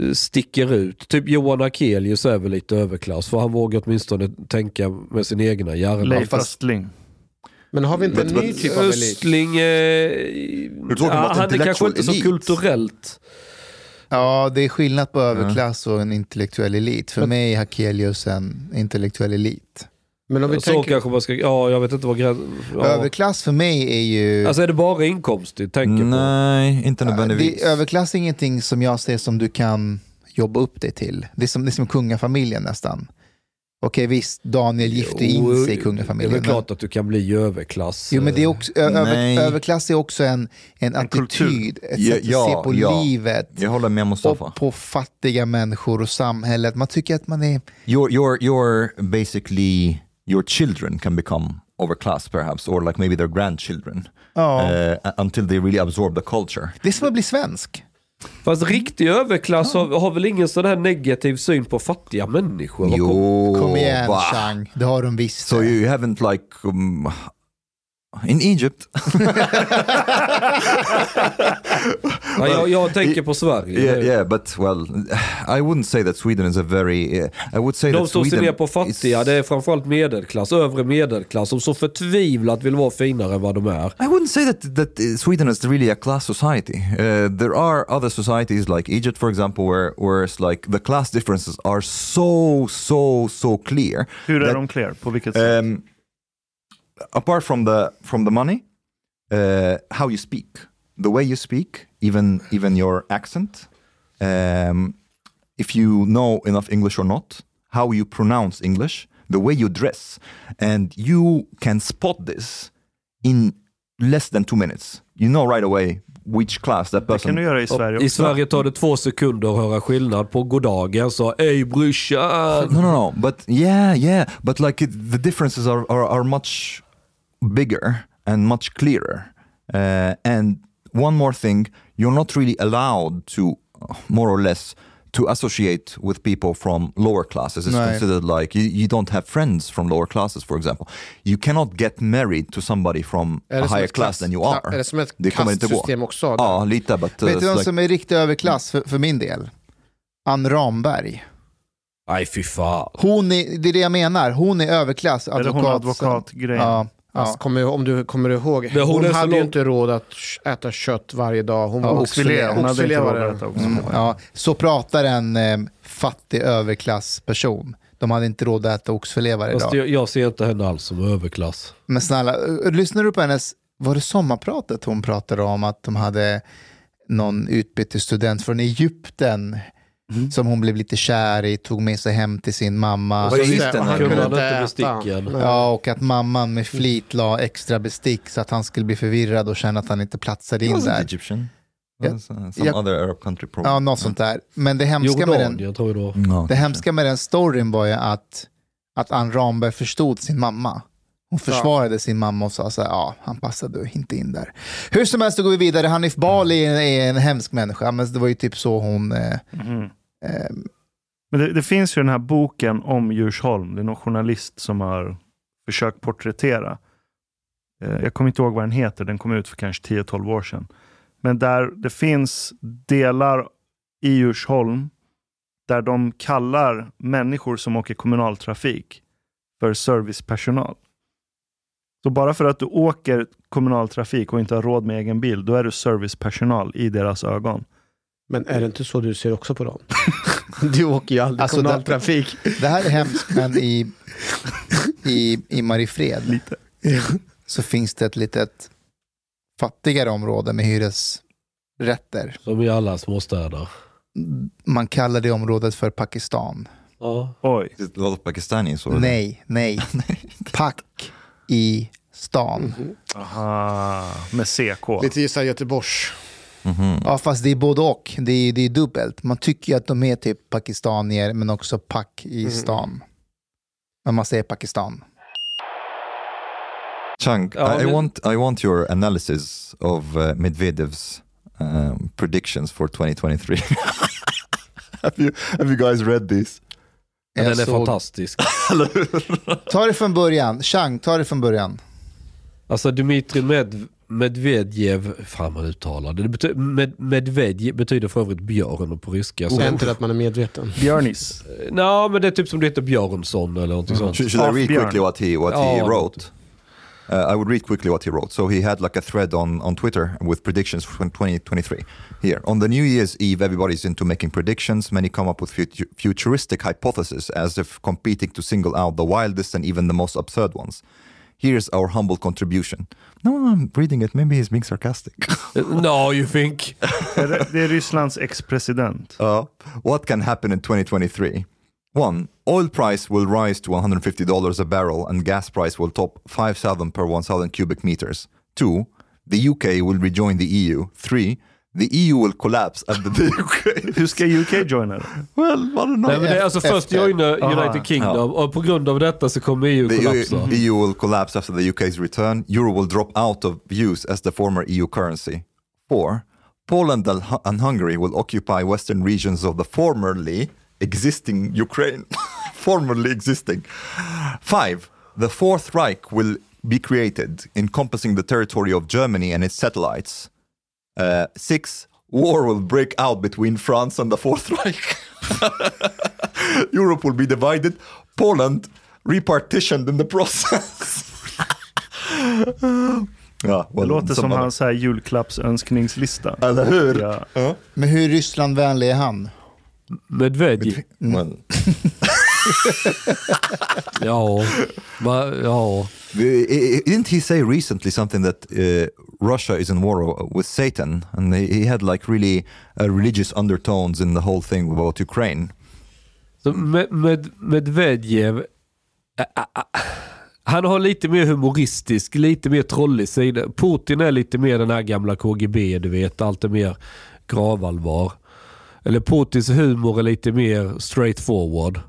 S3: eh, sticker ut. Typ Johan Akelius är väl lite överklass för han vågar åtminstone tänka med sin egna hjärna.
S2: Leif Östling.
S4: Men har vi inte en
S1: But-
S4: ny
S1: but-
S4: typ av elit?
S3: Östling, eh,
S1: talking about
S3: han är kanske
S1: intellectual
S3: inte så
S1: elite.
S3: kulturellt.
S5: Ja, det är skillnad på överklass och en intellektuell elit. För
S3: Men-
S5: mig är Hakelius en intellektuell elit.
S4: Men om vi
S3: Så
S4: tänker...
S3: kanske man ska, ja jag vet inte vad gränsen... Ja.
S5: Överklass för mig är ju...
S3: Alltså är det bara inkomst du tänker på?
S1: Nej, inte
S5: det,
S1: nödvändigtvis.
S5: överklass är ingenting som jag ser som du kan jobba upp dig till. Det är som, det är som kungafamiljen nästan. Okej visst, Daniel gifte in sig i kungafamiljen.
S3: Det är väl
S5: men-
S3: klart att du kan bli överklass.
S5: Jo, men det är också, ö-
S1: Nej.
S5: över, överklass är också en, en attityd,
S2: kultur.
S5: ett
S1: Ja,
S5: sätt att
S1: ja,
S5: se på
S1: ja.
S5: livet
S1: Jag håller med Mustafa.
S5: och på fattiga människor och samhället. Man tycker att man är...
S1: Your, your, your basically, your children can become overclass perhaps, or like maybe their grandchildren.
S5: Ja.
S1: eh, until they really absorb the culture.
S5: Det är som att bli svensk.
S3: Fast riktig överklass har, har väl ingen sån här negativ syn på fattiga människor? Vad kom-
S1: Jo,
S5: Kom igen,
S1: va?
S5: Chang. Det har de visst.
S1: So you haven't like um, in Egypt?
S3: Nej, jag, jag tänker på Sverige.
S1: Yeah, yeah, but well, I wouldn't say that Sweden is a very. eh, I would say
S3: De
S1: that
S3: som ser
S1: Sweden
S3: ner på fattiga,
S1: is-
S3: det är framförallt medelklass, övre medelklass som så förtvivlat vill vara finare än vad de är.
S1: I wouldn't say that that uh, Sweden is really a class society. Uh, there are other societies like Egypt, for example, where where it's like the class differences are so so so clear.
S2: Hur är
S1: that-
S2: de clear? På vilket sätt?
S1: Um, apart from the from the money, uh, how you speak, the way you speak, even even your accent, um, if you know enough English or not, how you pronounce English, the way you dress, and you can spot this in less than two minutes. You know right away which class that
S2: Det kan
S1: person.
S2: du göra i Sverige också.
S3: I Sverige tar det två sekunder att höra skillnad på goddagen, så ey brorsan.
S1: No, no, no. But yeah, yeah. But like it, the differences are, are, are much bigger and much clearer. Uh, and one more thing, you're not really allowed to, uh, more or less, to associate with people from lower classes. It's
S5: No.
S1: considered like you, you don't have friends from lower classes, for example. You cannot get married to somebody from
S4: Är det
S1: a
S4: som
S1: higher
S4: ett
S1: class
S4: klass-
S1: than you
S4: Ja,
S1: are.
S4: är det som ett
S1: kommer inte gå.
S4: kastsystem också?
S1: Ja, lite. But, uh,
S5: Vet du
S1: it's
S5: vem
S1: like-
S5: som är riktig överklass för, för min del? Ann Ramberg.
S3: Nej fy fan.
S5: Hon är, det är det jag menar. Hon är överklass.
S2: Eller hon advokatgrejen.
S5: Ja,
S4: Alltså,
S5: ja.
S4: kommer, om du kommer ihåg,
S3: Men
S4: hon,
S3: hon är så
S4: hade ju
S3: lång-
S4: inte råd att sh- äta kött varje dag. Hon
S5: Ja,
S4: var
S2: Oxfilé. Hon hade inte
S4: Oxfilé var
S2: råd
S4: det.
S2: att äta också.
S5: Mm, ja. Så pratar en eh, fattig överklassperson. De hade inte råd att äta oxfilé varje
S3: Fast
S5: dag.
S3: jag, jag ser inte henne alls som överklass.
S5: Men snälla, ö- lyssnar du på hennes, var det sommarpratet hon pratade om att de hade någon utbytesstudent från Egypten som hon blev lite kär i, tog med sig hem till sin mamma.
S1: Var det
S4: Just det,
S1: Egypten?
S4: och han
S1: Kunde
S4: kunde
S3: han
S4: inte
S3: inte
S4: äta.
S3: besticken?
S4: Nej.
S5: Ja, Mm. och att mamman med flit la extra bestick så att han skulle bli förvirrad och känna att han inte platsade
S1: He
S5: in
S1: wasn't
S5: där.
S1: Egyptian.
S5: Yeah. Oh,
S1: That's, uh, some
S5: Yeah.
S1: other Arab country probably.
S5: Ja, något sånt där. Men det hemska med den,
S3: Jordanien tror jag då.
S1: No,
S5: det hemska med den storyn var ju att, att Ann Ramberg förstod sin mamma. Hon försvarade sin mamma och sa så här, ja, han passade inte in där. Hur som helst, då går vi vidare. Hanif Bali är en, är en hemsk människa, men det var ju typ så hon... Eh,
S2: Mm. Men det, det finns ju den här boken om Djursholm. Det är någon journalist som har försökt porträttera. Eh, Jag kommer inte ihåg vad den heter. Den kom ut för kanske 10-12 år sedan. Men där det finns delar i Djursholm där de kallar människor som åker kommunaltrafik för servicepersonal. Så bara för att du åker kommunaltrafik och inte har råd med egen bil, då är du servicepersonal i deras ögon.
S4: Men är det inte så du ser också på dem? du åker ju aldrig
S5: Alltså,
S4: kommunaltrafik.
S5: det här är hemskt, men i, i, i Mariefred så finns det ett litet fattigare område med hyresrätter.
S3: Som i alla småstäder.
S5: Man kallar det området för Pakistan.
S3: Ja.
S2: Oj.
S1: Is it a lot of Pakistanis or
S5: Nej, nej. Pack i stan.
S4: Mm.
S2: Aha, Ah, med CK.
S4: Lite såhär Göteborgs.
S1: Uh,
S5: Ja, fast det är både och. Det är, det är dubbelt. Man tycker ju att de är typ pakistanier, men också pack i stan. Men man säger Pakistan.
S1: Chang,
S3: Ja,
S1: I, I
S3: men-
S1: want I want your analysis of uh, Medvedev's um, predictions for 2023. have you have you guys read this?
S3: Den
S5: Jag
S3: är
S5: såg-
S3: fantastisk.
S5: Ta det från början. Chang, ta det från början.
S3: Alltså Dmitrij Med- Medvedev, fan man uttalar det. det bety- med, Medvedev betyder för övrigt björn på ryska. Så.
S4: Det är inte att man är medveten.
S2: Björnis.
S3: Nå, men det är typ som det heter Björnsson eller någonting sånt.
S1: Should, should I
S2: Off
S1: read
S2: Björn.
S1: quickly what he what he
S3: Oh.
S1: wrote? Uh, I would read quickly what he wrote. So he had like a thread on, on Twitter with predictions for 2023. Here on the New Year's Eve, everybody's into making predictions. Many come up with futu- futuristic hypotheses, as if competing to single out the wildest and even the most absurd ones. Here's our humble contribution. No, I'm reading it. Maybe he's being sarcastic.
S3: No you think.
S2: Är det- Det är Rysslands ex-president.
S1: Uh, what can happen in 2023? One, oil price will rise to $150 a barrel and gas price will top 5,000 per 1,000 cubic meters. Two, the UK will rejoin the EU. Three, the EU will collapse under the UK.
S2: Hur ska UK joina det?
S1: well, I don't
S3: Nej,
S1: know.
S3: men det är alltså först
S5: Efter.
S3: joina
S2: Aha.
S3: United Kingdom och på grund av detta så kommer EU
S1: The
S3: kollapsa.
S1: EU, EU will collapse after the UK's return. Euro will drop out of use as the former EU currency. Four, Poland and Hu- and Hungary will occupy western regions of the formerly existing Ukraine. formerly existing. Five, the Fourth Reich will be created, encompassing the territory of Germany and its satellites. Uh, six, war will break out between France and the Fourth Reich. Europe will be divided, Poland repartitioned in the process. ja,
S2: Det
S1: well,
S2: låter som
S1: some-
S2: hans här julklappsönskningslista.
S1: Eller hur?
S2: Ja.
S5: Men hur Rysslandvänlig är han?
S3: Medvedev.
S1: Well,
S3: Ja. Va, ja.
S1: i- i- didn't he say recently something that uh, Russia is in war with Satan? And he, he had like really uh, religious undertones in the whole thing about Ukraine.
S3: Så med, med, Medvedev, ä- ä- ä- han har lite mer humoristisk, lite mer trollig sida. Putin är lite mer den här gamla KGB, du vet. Allt är mer gravallvar. Eller Putins humor är lite mer straightforward.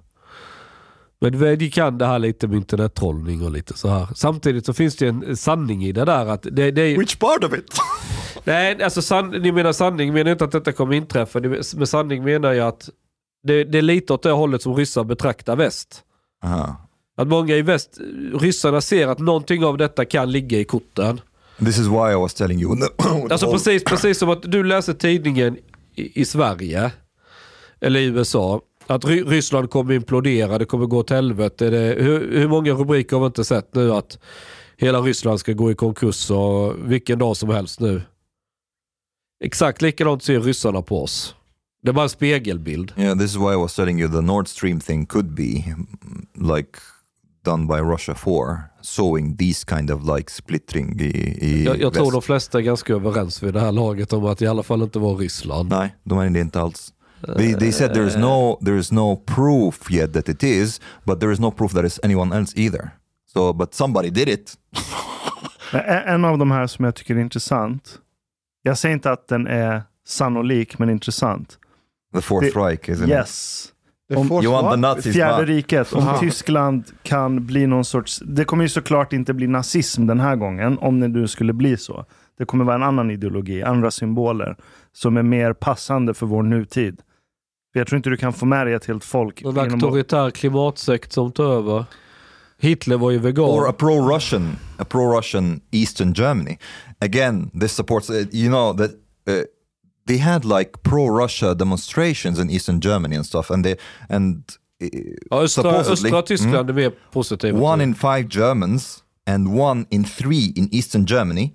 S3: Medvedev kan det här lite med internettrollning och lite så här. Samtidigt så finns det en sanning i det där. Att det, det är,
S1: Which part of it?
S3: Nej, alltså san, ni menar sanning menar inte att detta kommer inträffa. Ni- Med sanning menar jag att det, det är lite åt det hållet som ryssar betraktar väst.
S1: uh
S3: Att många i väst, eh, ryssarna ser att någonting av detta kan ligga i korten.
S1: This is why I was telling you.
S3: Alltså precis, precis som att du läser tidningen i, i Sverige, eller i USA, att Ry- Ryssland kommer implodera, det kommer gå åt helvete. Det, hur, hur många rubriker har vi inte sett nu att hela Ryssland ska gå i konkurs och vilken dag som helst nu. Exakt likadant ser ryssarna på oss. Det är bara en spegelbild.
S1: Yeah, this is why I was telling you the Nord Stream thing could be mm, like done by Russia for sowing these kind of like splittering e, i, i
S3: Jag, jag tror
S1: väst.
S3: de flesta är ganska överens vid det här laget om att i alla fall inte var Ryssland.
S1: Nej, de är det inte alls. They, they said there
S3: Eh.
S1: is no there is no proof yet that it is, but there is no proof that it's anyone else either. So, but somebody did it.
S2: Men e- En av de här som jag tycker är intressant. Jag säger inte att den är sannolik, men intressant.
S1: The Fourth
S2: Det-
S1: Reich, isn't it?
S2: Yes.
S4: Det
S2: Om-
S4: får-
S1: You want the Nazis
S2: Fjärde
S1: back.
S2: riket, om
S4: Aha.
S2: Tyskland kan bli någon sorts... Det kommer ju såklart inte bli nazism den här gången, om det nu skulle bli så. Det kommer vara en annan ideologi, andra symboler, som är mer passande för vår nutid. För jag tror inte du kan få med dig ett helt folk.
S3: Någon
S2: genom att-
S3: auktoritär klimatsekt som tar över. Hitler var ju vegan.
S1: or a pro-Russian, a pro-Russian Eastern Germany. Again, this supports. uh, You know that uh, they had like pro-Russia demonstrations in Eastern Germany and stuff, and they and uh,
S3: Ja, östra,
S1: supposedly- Mm.
S3: östra Tyskland är mer positiva.
S1: one
S3: till.
S1: in five Germans and one in three in Eastern Germany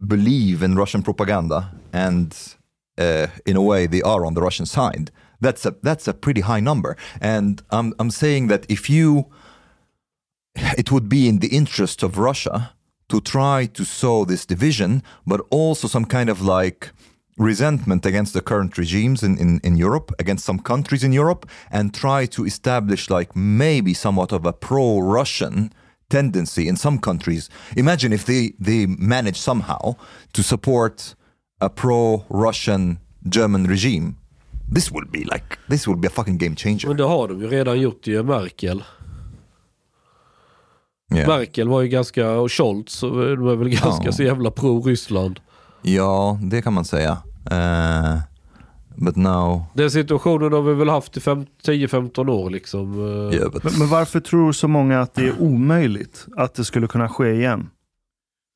S1: believe in Russian propaganda, and uh, in a way, they are on the Russian side. That's a that's a pretty high number, and I'm I'm saying that if you, it would be in the interest of Russia to try to sow this division, but also some kind of like resentment against the current regimes in, in, in Europe, against some countries in Europe, and try to establish like maybe somewhat of a pro Russian tendency in some countries. Imagine if they, they manage somehow to support a pro Russian German regime. This will be like, this will be a fucking game changer.
S3: Men det har de ju redan gjort ju, Merkel.
S1: Yeah.
S3: Merkel var ju ganska, och Scholz, de är väl ganska
S1: Ja.
S3: så jävla pro-Ryssland.
S1: Ja, det kan man säga. Eh, but now...
S3: Den situationen har vi väl haft i fem- 10-15 år liksom. Eh,
S1: Yeah, but
S2: Men, men varför tror så många att det är omöjligt att det skulle kunna ske igen?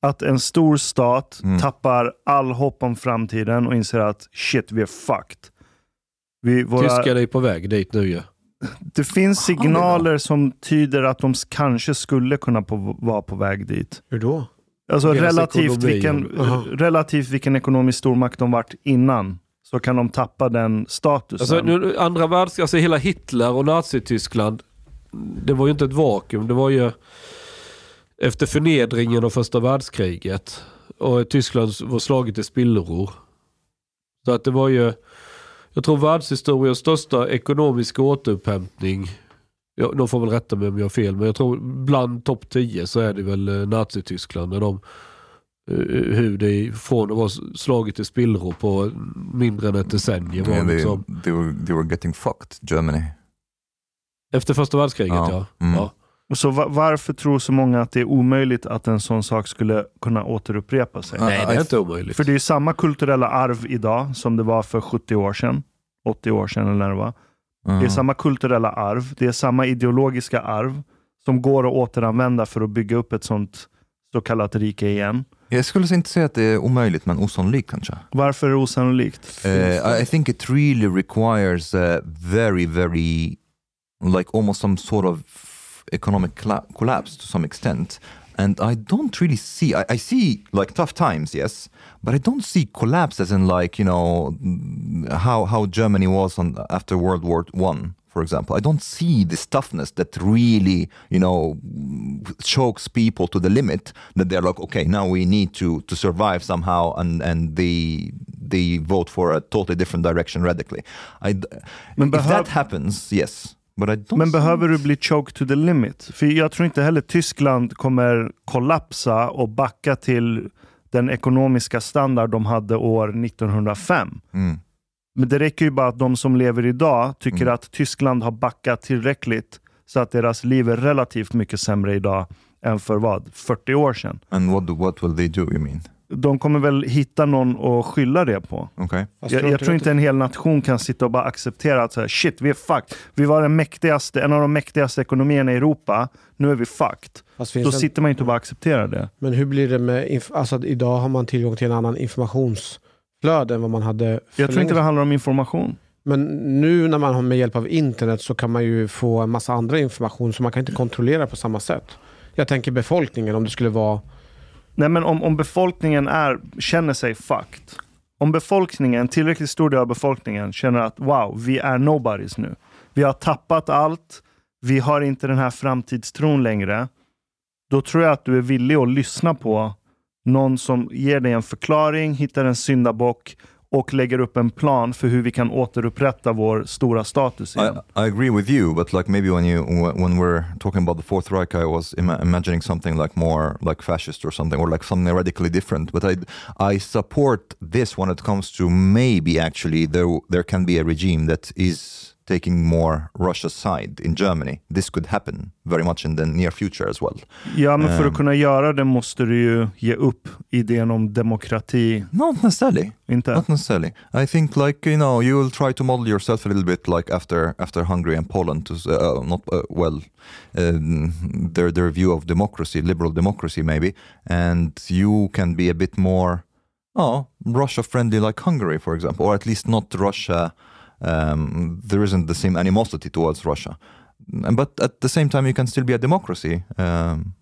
S2: att en stor stat
S1: Mm.
S2: tappar all hopp om framtiden och inser att shit, vi är fucked. Vi, våra,
S3: Tyskar är på väg dit nu ju.
S2: det finns signaler som tyder att de s- kanske skulle kunna på, vara på väg dit.
S4: Hur då?
S2: Alltså
S3: Deras
S2: relativt
S3: ekonomi,
S2: vilken,
S4: aha.
S2: relativt vilken ekonomisk stormakt de varit innan så kan de tappa den statusen.
S3: Alltså, nu, andra världskriget, alltså hela Hitler och Nazityskland, det var ju inte ett vakuum. Det var ju efter förnedringen av första världskriget och Tyskland var slaget i spillror. Så att det var ju, jag tror världshistoriens största ekonomiska återupphämtning, ja, de får väl rätta mig om jag har fel, men jag tror bland topp 10 så är det väl eh, Nazityskland. När de, eh, hur det från att vara slaget i spillror på mindre än ett decennium var
S1: Yeah, they,
S3: liksom
S1: they, were, they were getting fucked, Germany.
S3: Efter första världskriget ja.
S1: Ja.
S3: ja.
S1: Mm.
S2: Så va- varför tror så många att det är omöjligt att en sån sak skulle kunna återupprepa sig?
S1: Ja,
S3: Nej, det
S1: I-
S3: är inte omöjligt.
S2: För det är ju samma kulturella arv idag som det var för 70 år sedan, 80 år sedan eller när det var. Det är
S1: Mm.
S2: samma kulturella arv, det är samma ideologiska arv som går att återanvända för att bygga upp ett sånt så kallat rike igen.
S1: Jag skulle inte säga att det är omöjligt, men osannolikt kanske.
S2: Varför är det osannolikt?
S1: Uh, I think it really requires a very, very, like almost some sort of economic colla- collapse to some extent. And I don't really see, I, I see like tough times, yes, but I don't see collapse as in like, you know, mm, how, how Germany was on, after World War One, for example. I don't see this toughness that really, you know, chokes people to the limit that they're like, okay, now we need to to survive somehow, and and they they vote for a totally different direction radically. I d
S2: Men
S1: if
S2: behöv-
S1: that happens, yes, but I don't.
S2: Men
S1: see-
S2: behöver du bli choked to the limit? För jag tror inte heller Tyskland kommer kollapsa och backa till den ekonomiska standard de hade år 1905.
S1: Mm.
S2: Men det räcker ju bara att de som lever idag tycker
S1: Mm.
S2: att Tyskland har backat tillräckligt så att deras liv är relativt mycket sämre idag än för vad? 40 år sedan.
S1: And what do, what will they do? You mean?
S2: De kommer väl hitta någon att skylla det på.
S1: Okay.
S4: Fast
S2: Jag, jag tror inte en hel nation kan sitta och bara acceptera att så här, shit, vi är fucked. Vi var den mäktigaste, en av de mäktigaste ekonomierna i Europa. Nu är vi fucked.
S4: Fast
S2: Då
S4: finns det,
S2: sitter man ju inte och bara accepterar det.
S4: men hur blir det med... Inf- alltså att idag har man tillgång till en annan informationsflöde än vad man hade för
S2: Jag tror inte
S4: länge
S2: det
S4: sedan.
S2: handlar om information.
S4: Men nu när man har med hjälp av internet så kan man ju få en massa andra information som man kan inte kontrollera på samma sätt. Jag tänker befolkningen, om det skulle vara...
S2: Nej, men om, om befolkningen är, känner sig fucked. Om befolkningen, en tillräckligt stor del av befolkningen känner att wow, vi är nobodies nu. Vi har tappat allt. Vi har inte den här framtidstron längre. Då tror jag att du är villig att lyssna på någon som ger dig en förklaring, hittar en syndabock och lägger upp en plan för hur vi kan återupprätta vår stora status igen.
S1: I, I agree with you, but like maybe when you when we're talking about the Fourth Reich, I was ima- imagining something like more like fascist or something, or like something radically different. But I I support this when it comes to maybe actually there there can be a regime that is taking more Russia's side in Germany. This could happen very much in the near future as well.
S2: Ja, men för
S1: Ehm.
S2: att kunna göra det måste du ju ge upp idén om demokrati.
S1: Not necessarily.
S2: Inte?
S1: Not necessarily. I think, like you know, you will try to model yourself a little bit, like after after Hungary and Poland, to, s- uh, not uh, well, um, their their view of democracy, liberal democracy, maybe, and you can be a bit more, oh, Russia friendly, like Hungary, for example, or at least not Russia. Um, there isn't the same animosity towards Russia, And- but at the same time, you can still be a democracy. Um,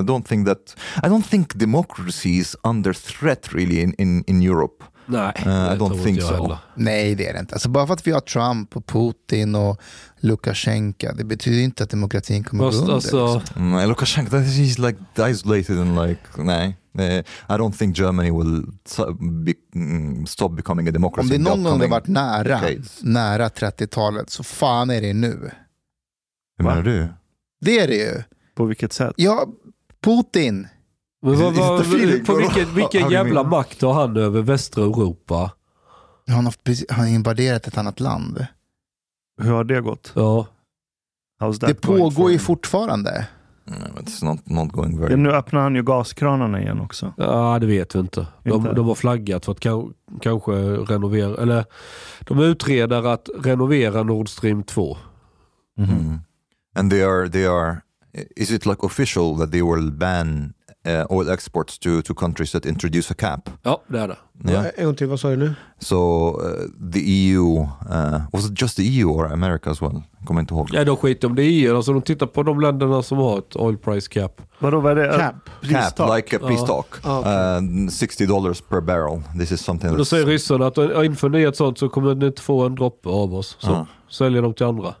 S1: I don't think that I don't think democracy is under threat really in, in, in Europe.
S3: Nej,
S1: Eh, I
S3: det
S1: don't
S3: tror inte
S1: think
S3: jag
S1: so.
S3: heller.
S5: Nej, det är det inte. Alltså bara för att vi har Trump och Putin och Lukasjenko, det betyder inte att demokratin kommer att gå
S3: Fast
S5: under.
S3: alltså,
S5: liksom.
S1: Mm, Lukashenko, that is- he's like isolated and like, nah. Eh, I don't think Germany will so- be, mm, stop becoming a democracy.
S5: Om det
S1: in the
S5: någon gång har
S1: upcoming-
S5: varit nära,
S1: decades.
S5: nära 30-talet, så fan är det nu.
S1: Hur menar du?
S5: Det är det ju.
S2: På vilket sätt?
S5: Ja, Putin.
S3: men
S1: Is it-
S3: vad,
S1: is it
S3: vad,
S1: the feeling?
S3: på vilken,
S1: How
S3: vilken
S1: do you
S3: jävla
S1: mean?
S3: makt har han över västra Europa?
S5: Han har, haft precis- han har invaderat ett annat land.
S2: Hur har det gått?
S3: Ja.
S2: How's that
S5: Det
S2: going
S5: pågår
S2: for
S5: ju
S2: you?
S5: fortfarande.
S1: Mm, It's not, not going
S2: Ja,
S1: very...
S5: Mm.
S2: nu öppnar han ju gaskranarna igen också.
S3: ja, det vet vi inte. De,
S2: Inte?
S3: de har flaggat för att kan, kanske renovera, eller de utreder att renovera Nord Stream 2.
S1: eh, Mm. And they are, they are... Is it like official that they will ban uh, oil exports to, to countries that introduce a cap.
S3: Ja, det är det.
S1: Yeah.
S4: En gång till, Eh, vad sa du nu?
S1: So uh, the EU, uh, was it just the EU or America as well? Jag Kommer inte ihåg.
S3: Ja, de skiter om det i EU. Alltså, de tittar på de länderna som har ett oil price cap.
S2: Vadå, vad är det?
S4: Cap.
S2: Pristak?
S1: Uh, Cap, like a peace talk.
S4: Ah, okej.
S1: Uh, 60 dollars per barrel. This is something
S3: Då
S1: that's...
S3: säger ryssarna att ja, inför ni ett sånt så kommer ni inte få en droppe av oss. Så
S1: Ja.
S3: säljer de till andra.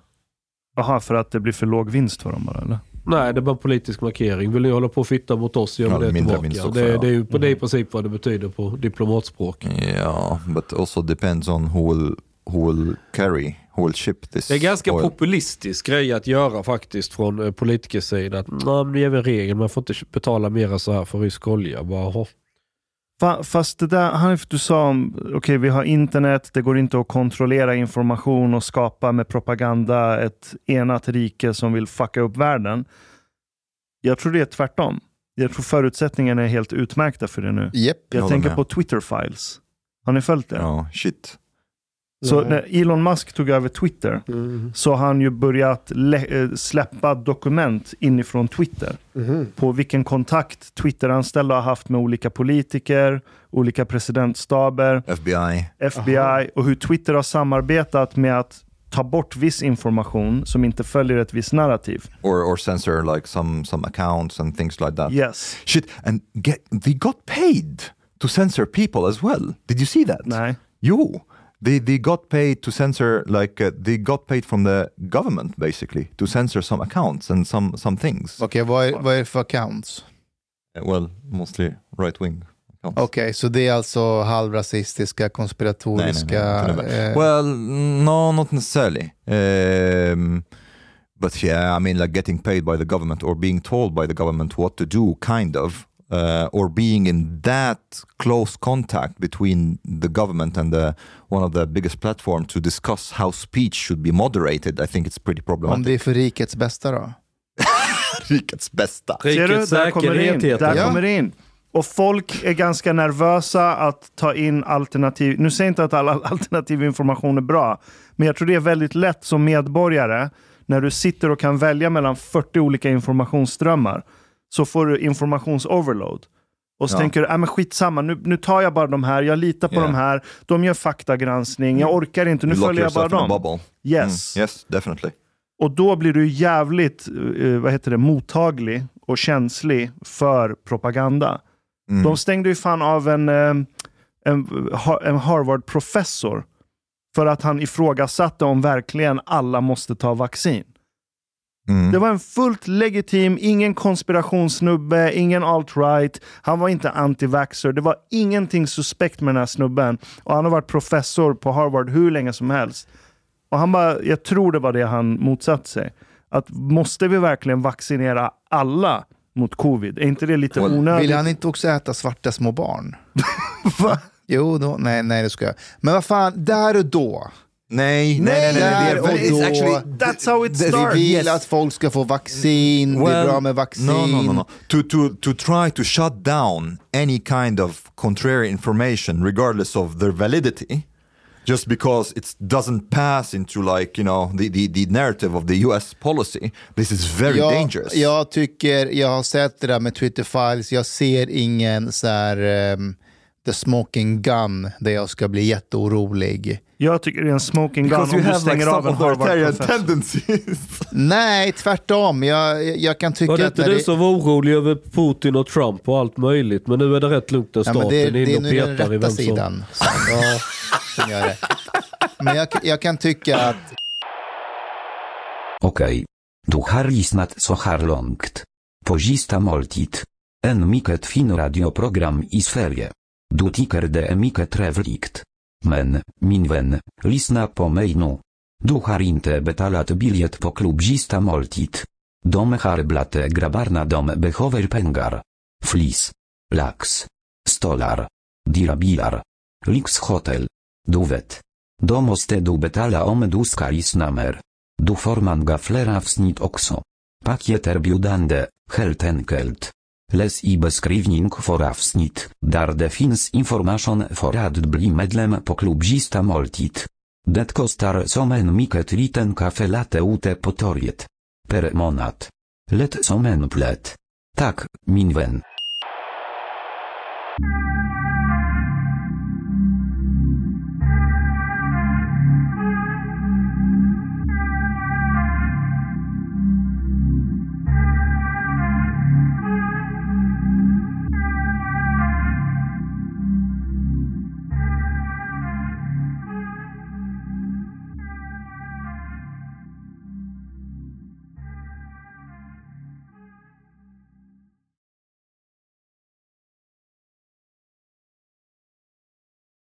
S2: Jaha, för att det blir för låg vinst för dem bara eller?
S3: Nej, det är bara en politisk markering. Vill ni hålla på och fitta mot oss, gör
S1: Ja,
S3: vi det
S1: mindre
S3: tillbaka.
S1: minst också,
S3: det,
S1: ja.
S3: det, är ju, det
S5: Mm.
S3: är i princip vad det betyder på diplomatspråk.
S1: Yeah, but also depends on who will, who will carry, who will ship this
S3: Det är ganska
S1: oil.
S3: populistisk grej att göra faktiskt från eh, politikers sida. Att, "Nej, men det är väl regeln, man får inte betala mera så här för rysk olja. Bara, "Jaha."
S2: Fa, fast det där Hanif, du sa om, okej vi har internet, det går inte att kontrollera information och skapa med propaganda ett enat rike som vill fucka upp världen. Jag tror det är tvärtom. Jag tror förutsättningarna är helt utmärkta för det nu.
S5: Japp.
S2: Jag
S1: håller
S2: tänker
S1: med.
S2: på Twitter files. Har ni följt det?
S1: Ja, shit.
S2: Så
S4: Nej.
S2: när Elon Musk tog över Twitter
S4: Mm.
S2: så har han ju börjat lä- eh, släppa dokument inifrån Twitter
S4: Mhm.
S2: på vilken kontakt Twitteranställda har haft med olika politiker, olika presidentstaber,
S1: FBI.
S2: FBI och hur Twitter har samarbetat med att ta bort viss information som inte följer ett visst narrativ.
S1: Or, or censor like some, some accounts and things like that.
S2: Yes.
S1: Shit, and get, they got paid to censor people as well. Did you see that?
S2: Nej.
S1: You. They, they got paid to censor, like, uh, they got paid from the government basically to censor some accounts and some, some things.
S5: Okej, vad, är, vad är det för accounts?
S1: Uh, Well, mostly right wing. accounts.
S5: Okej, så det är alltså halvrasistiska, konspiratoriska...
S1: Nej, nej, nej,
S5: eh,
S1: Well, no, not necessarily. Um, but yeah, I mean, like getting paid by the government or being told by the government what to do, kind of, uh, or being in that close contact between the government and the, one of the biggest platforms to discuss how speech should be moderated. I think it's pretty
S5: om det
S1: problematic.
S5: är för rikets bästa då?
S1: Rikets bästa.
S2: Ser du?
S3: Rikets
S2: Där kommer det in.
S3: säkerhet
S2: Där
S3: heter
S5: Ja.
S2: kommer det in. Och folk är ganska nervösa att ta in alternativ. Nu säger jag inte att all all alternativ information är bra, men jag tror det är väldigt lätt som medborgare, när du sitter och kan välja mellan 40 olika informationsströmmar, så får du informationsoverload. Och så
S1: Ja.
S2: tänker du, äh, men skitsamma, nu, nu tar jag bara de här, jag litar på
S1: Ja. Mm.
S2: de här, de gör faktagranskning, jag orkar inte, nu
S1: You lock
S2: följer jag bara
S1: yourself in a
S2: dem.
S1: bubble.
S2: Yes.
S1: Mm, yes, definitely.
S2: Och då blir du jävligt eh, vad heter det, mottaglig och känslig för propaganda.
S1: Mm.
S2: De stängde ju fan av en, eh, en, ha- en Harvard-professor för att han ifrågasatte om verkligen alla måste ta vaccin.
S1: Mm.
S2: Det var en fullt legitim, ingen konspirationssnubbe, ingen alt-right. Han var inte anti-vaxxer. Det var ingenting suspekt med den här snubben. Och han har varit professor på Harvard hur länge som helst. Och han bara, jag tror det var det han motsatt sig. Att måste vi verkligen vaccinera alla mot covid? Är inte det lite
S1: Well,
S2: onödigt?
S5: Vill han inte också äta svarta små barn?
S2: Va?
S5: Jo, då, nej, nej det ska jag. Men vad fan, där och då.
S1: Nej, nej, nej, nej, nej.
S5: Där
S1: det är
S5: och
S1: väldigt-
S5: då.
S1: it's actually-
S2: That's how it
S1: det-
S2: starts.
S5: Vi vill
S1: Yes.
S5: att folk ska få vaccin, det är
S1: Well,
S5: bra med vaccin.
S1: No, no, no, no. To to to try to shut down any kind of contrary information, regardless of their validity, just because it doesn't pass into like you know the the, the narrative of the U.S. policy. This is very
S5: Jag,
S1: dangerous.
S5: jag tycker, jag har sett det där med Twitter files, jag ser ingen så här ehm, the smoking gun där jag ska bli jätteorolig.
S2: Jag tycker det är en smoking gun om
S1: Because you
S2: du
S1: have like
S2: stänger av
S1: some
S2: en
S1: authoritarian
S2: Harvard-professor.
S1: tendencies.
S5: Nej, tvärtom. Jag, jag kan tycka
S3: Var det
S5: att
S3: inte
S5: när
S3: du
S5: det-
S3: som var orolig över Putin och Trump och allt möjligt? Men nu är det rätt lugnt när
S5: Ja,
S3: staten
S5: men det,
S3: är
S5: det
S3: inne
S5: är
S3: och
S5: nu den
S3: petar i
S5: rätta
S3: vem som...
S5: sidan som, ja, som gör det. Men jag, jag kan tycka att
S6: Okej. Du harlis nad so harlongt. Pozista moltit. En miket fin radioprogram i sferie. Du tiker de emiket revlikt. Men, minwen, lisna po mejnu. Du harinte betalat biliet po klubzista moltit. Dom harblate grabarna dom behover pengar. Flis. Laks. Stolar. Dirabilar. Lix hotel. Duwet. Domostedu betala omeduska lisnamer. Du forman gaflera wsnit okso. Pakieter biudande, heltenkelt. Les i beskrivning for avsnit, dar defins information for adbli medlem po klubzista moltit. Detko star somen miket liten kafe late ute potoriet. Per monat. Let somen plet. Tak, minwen.
S7: Hej!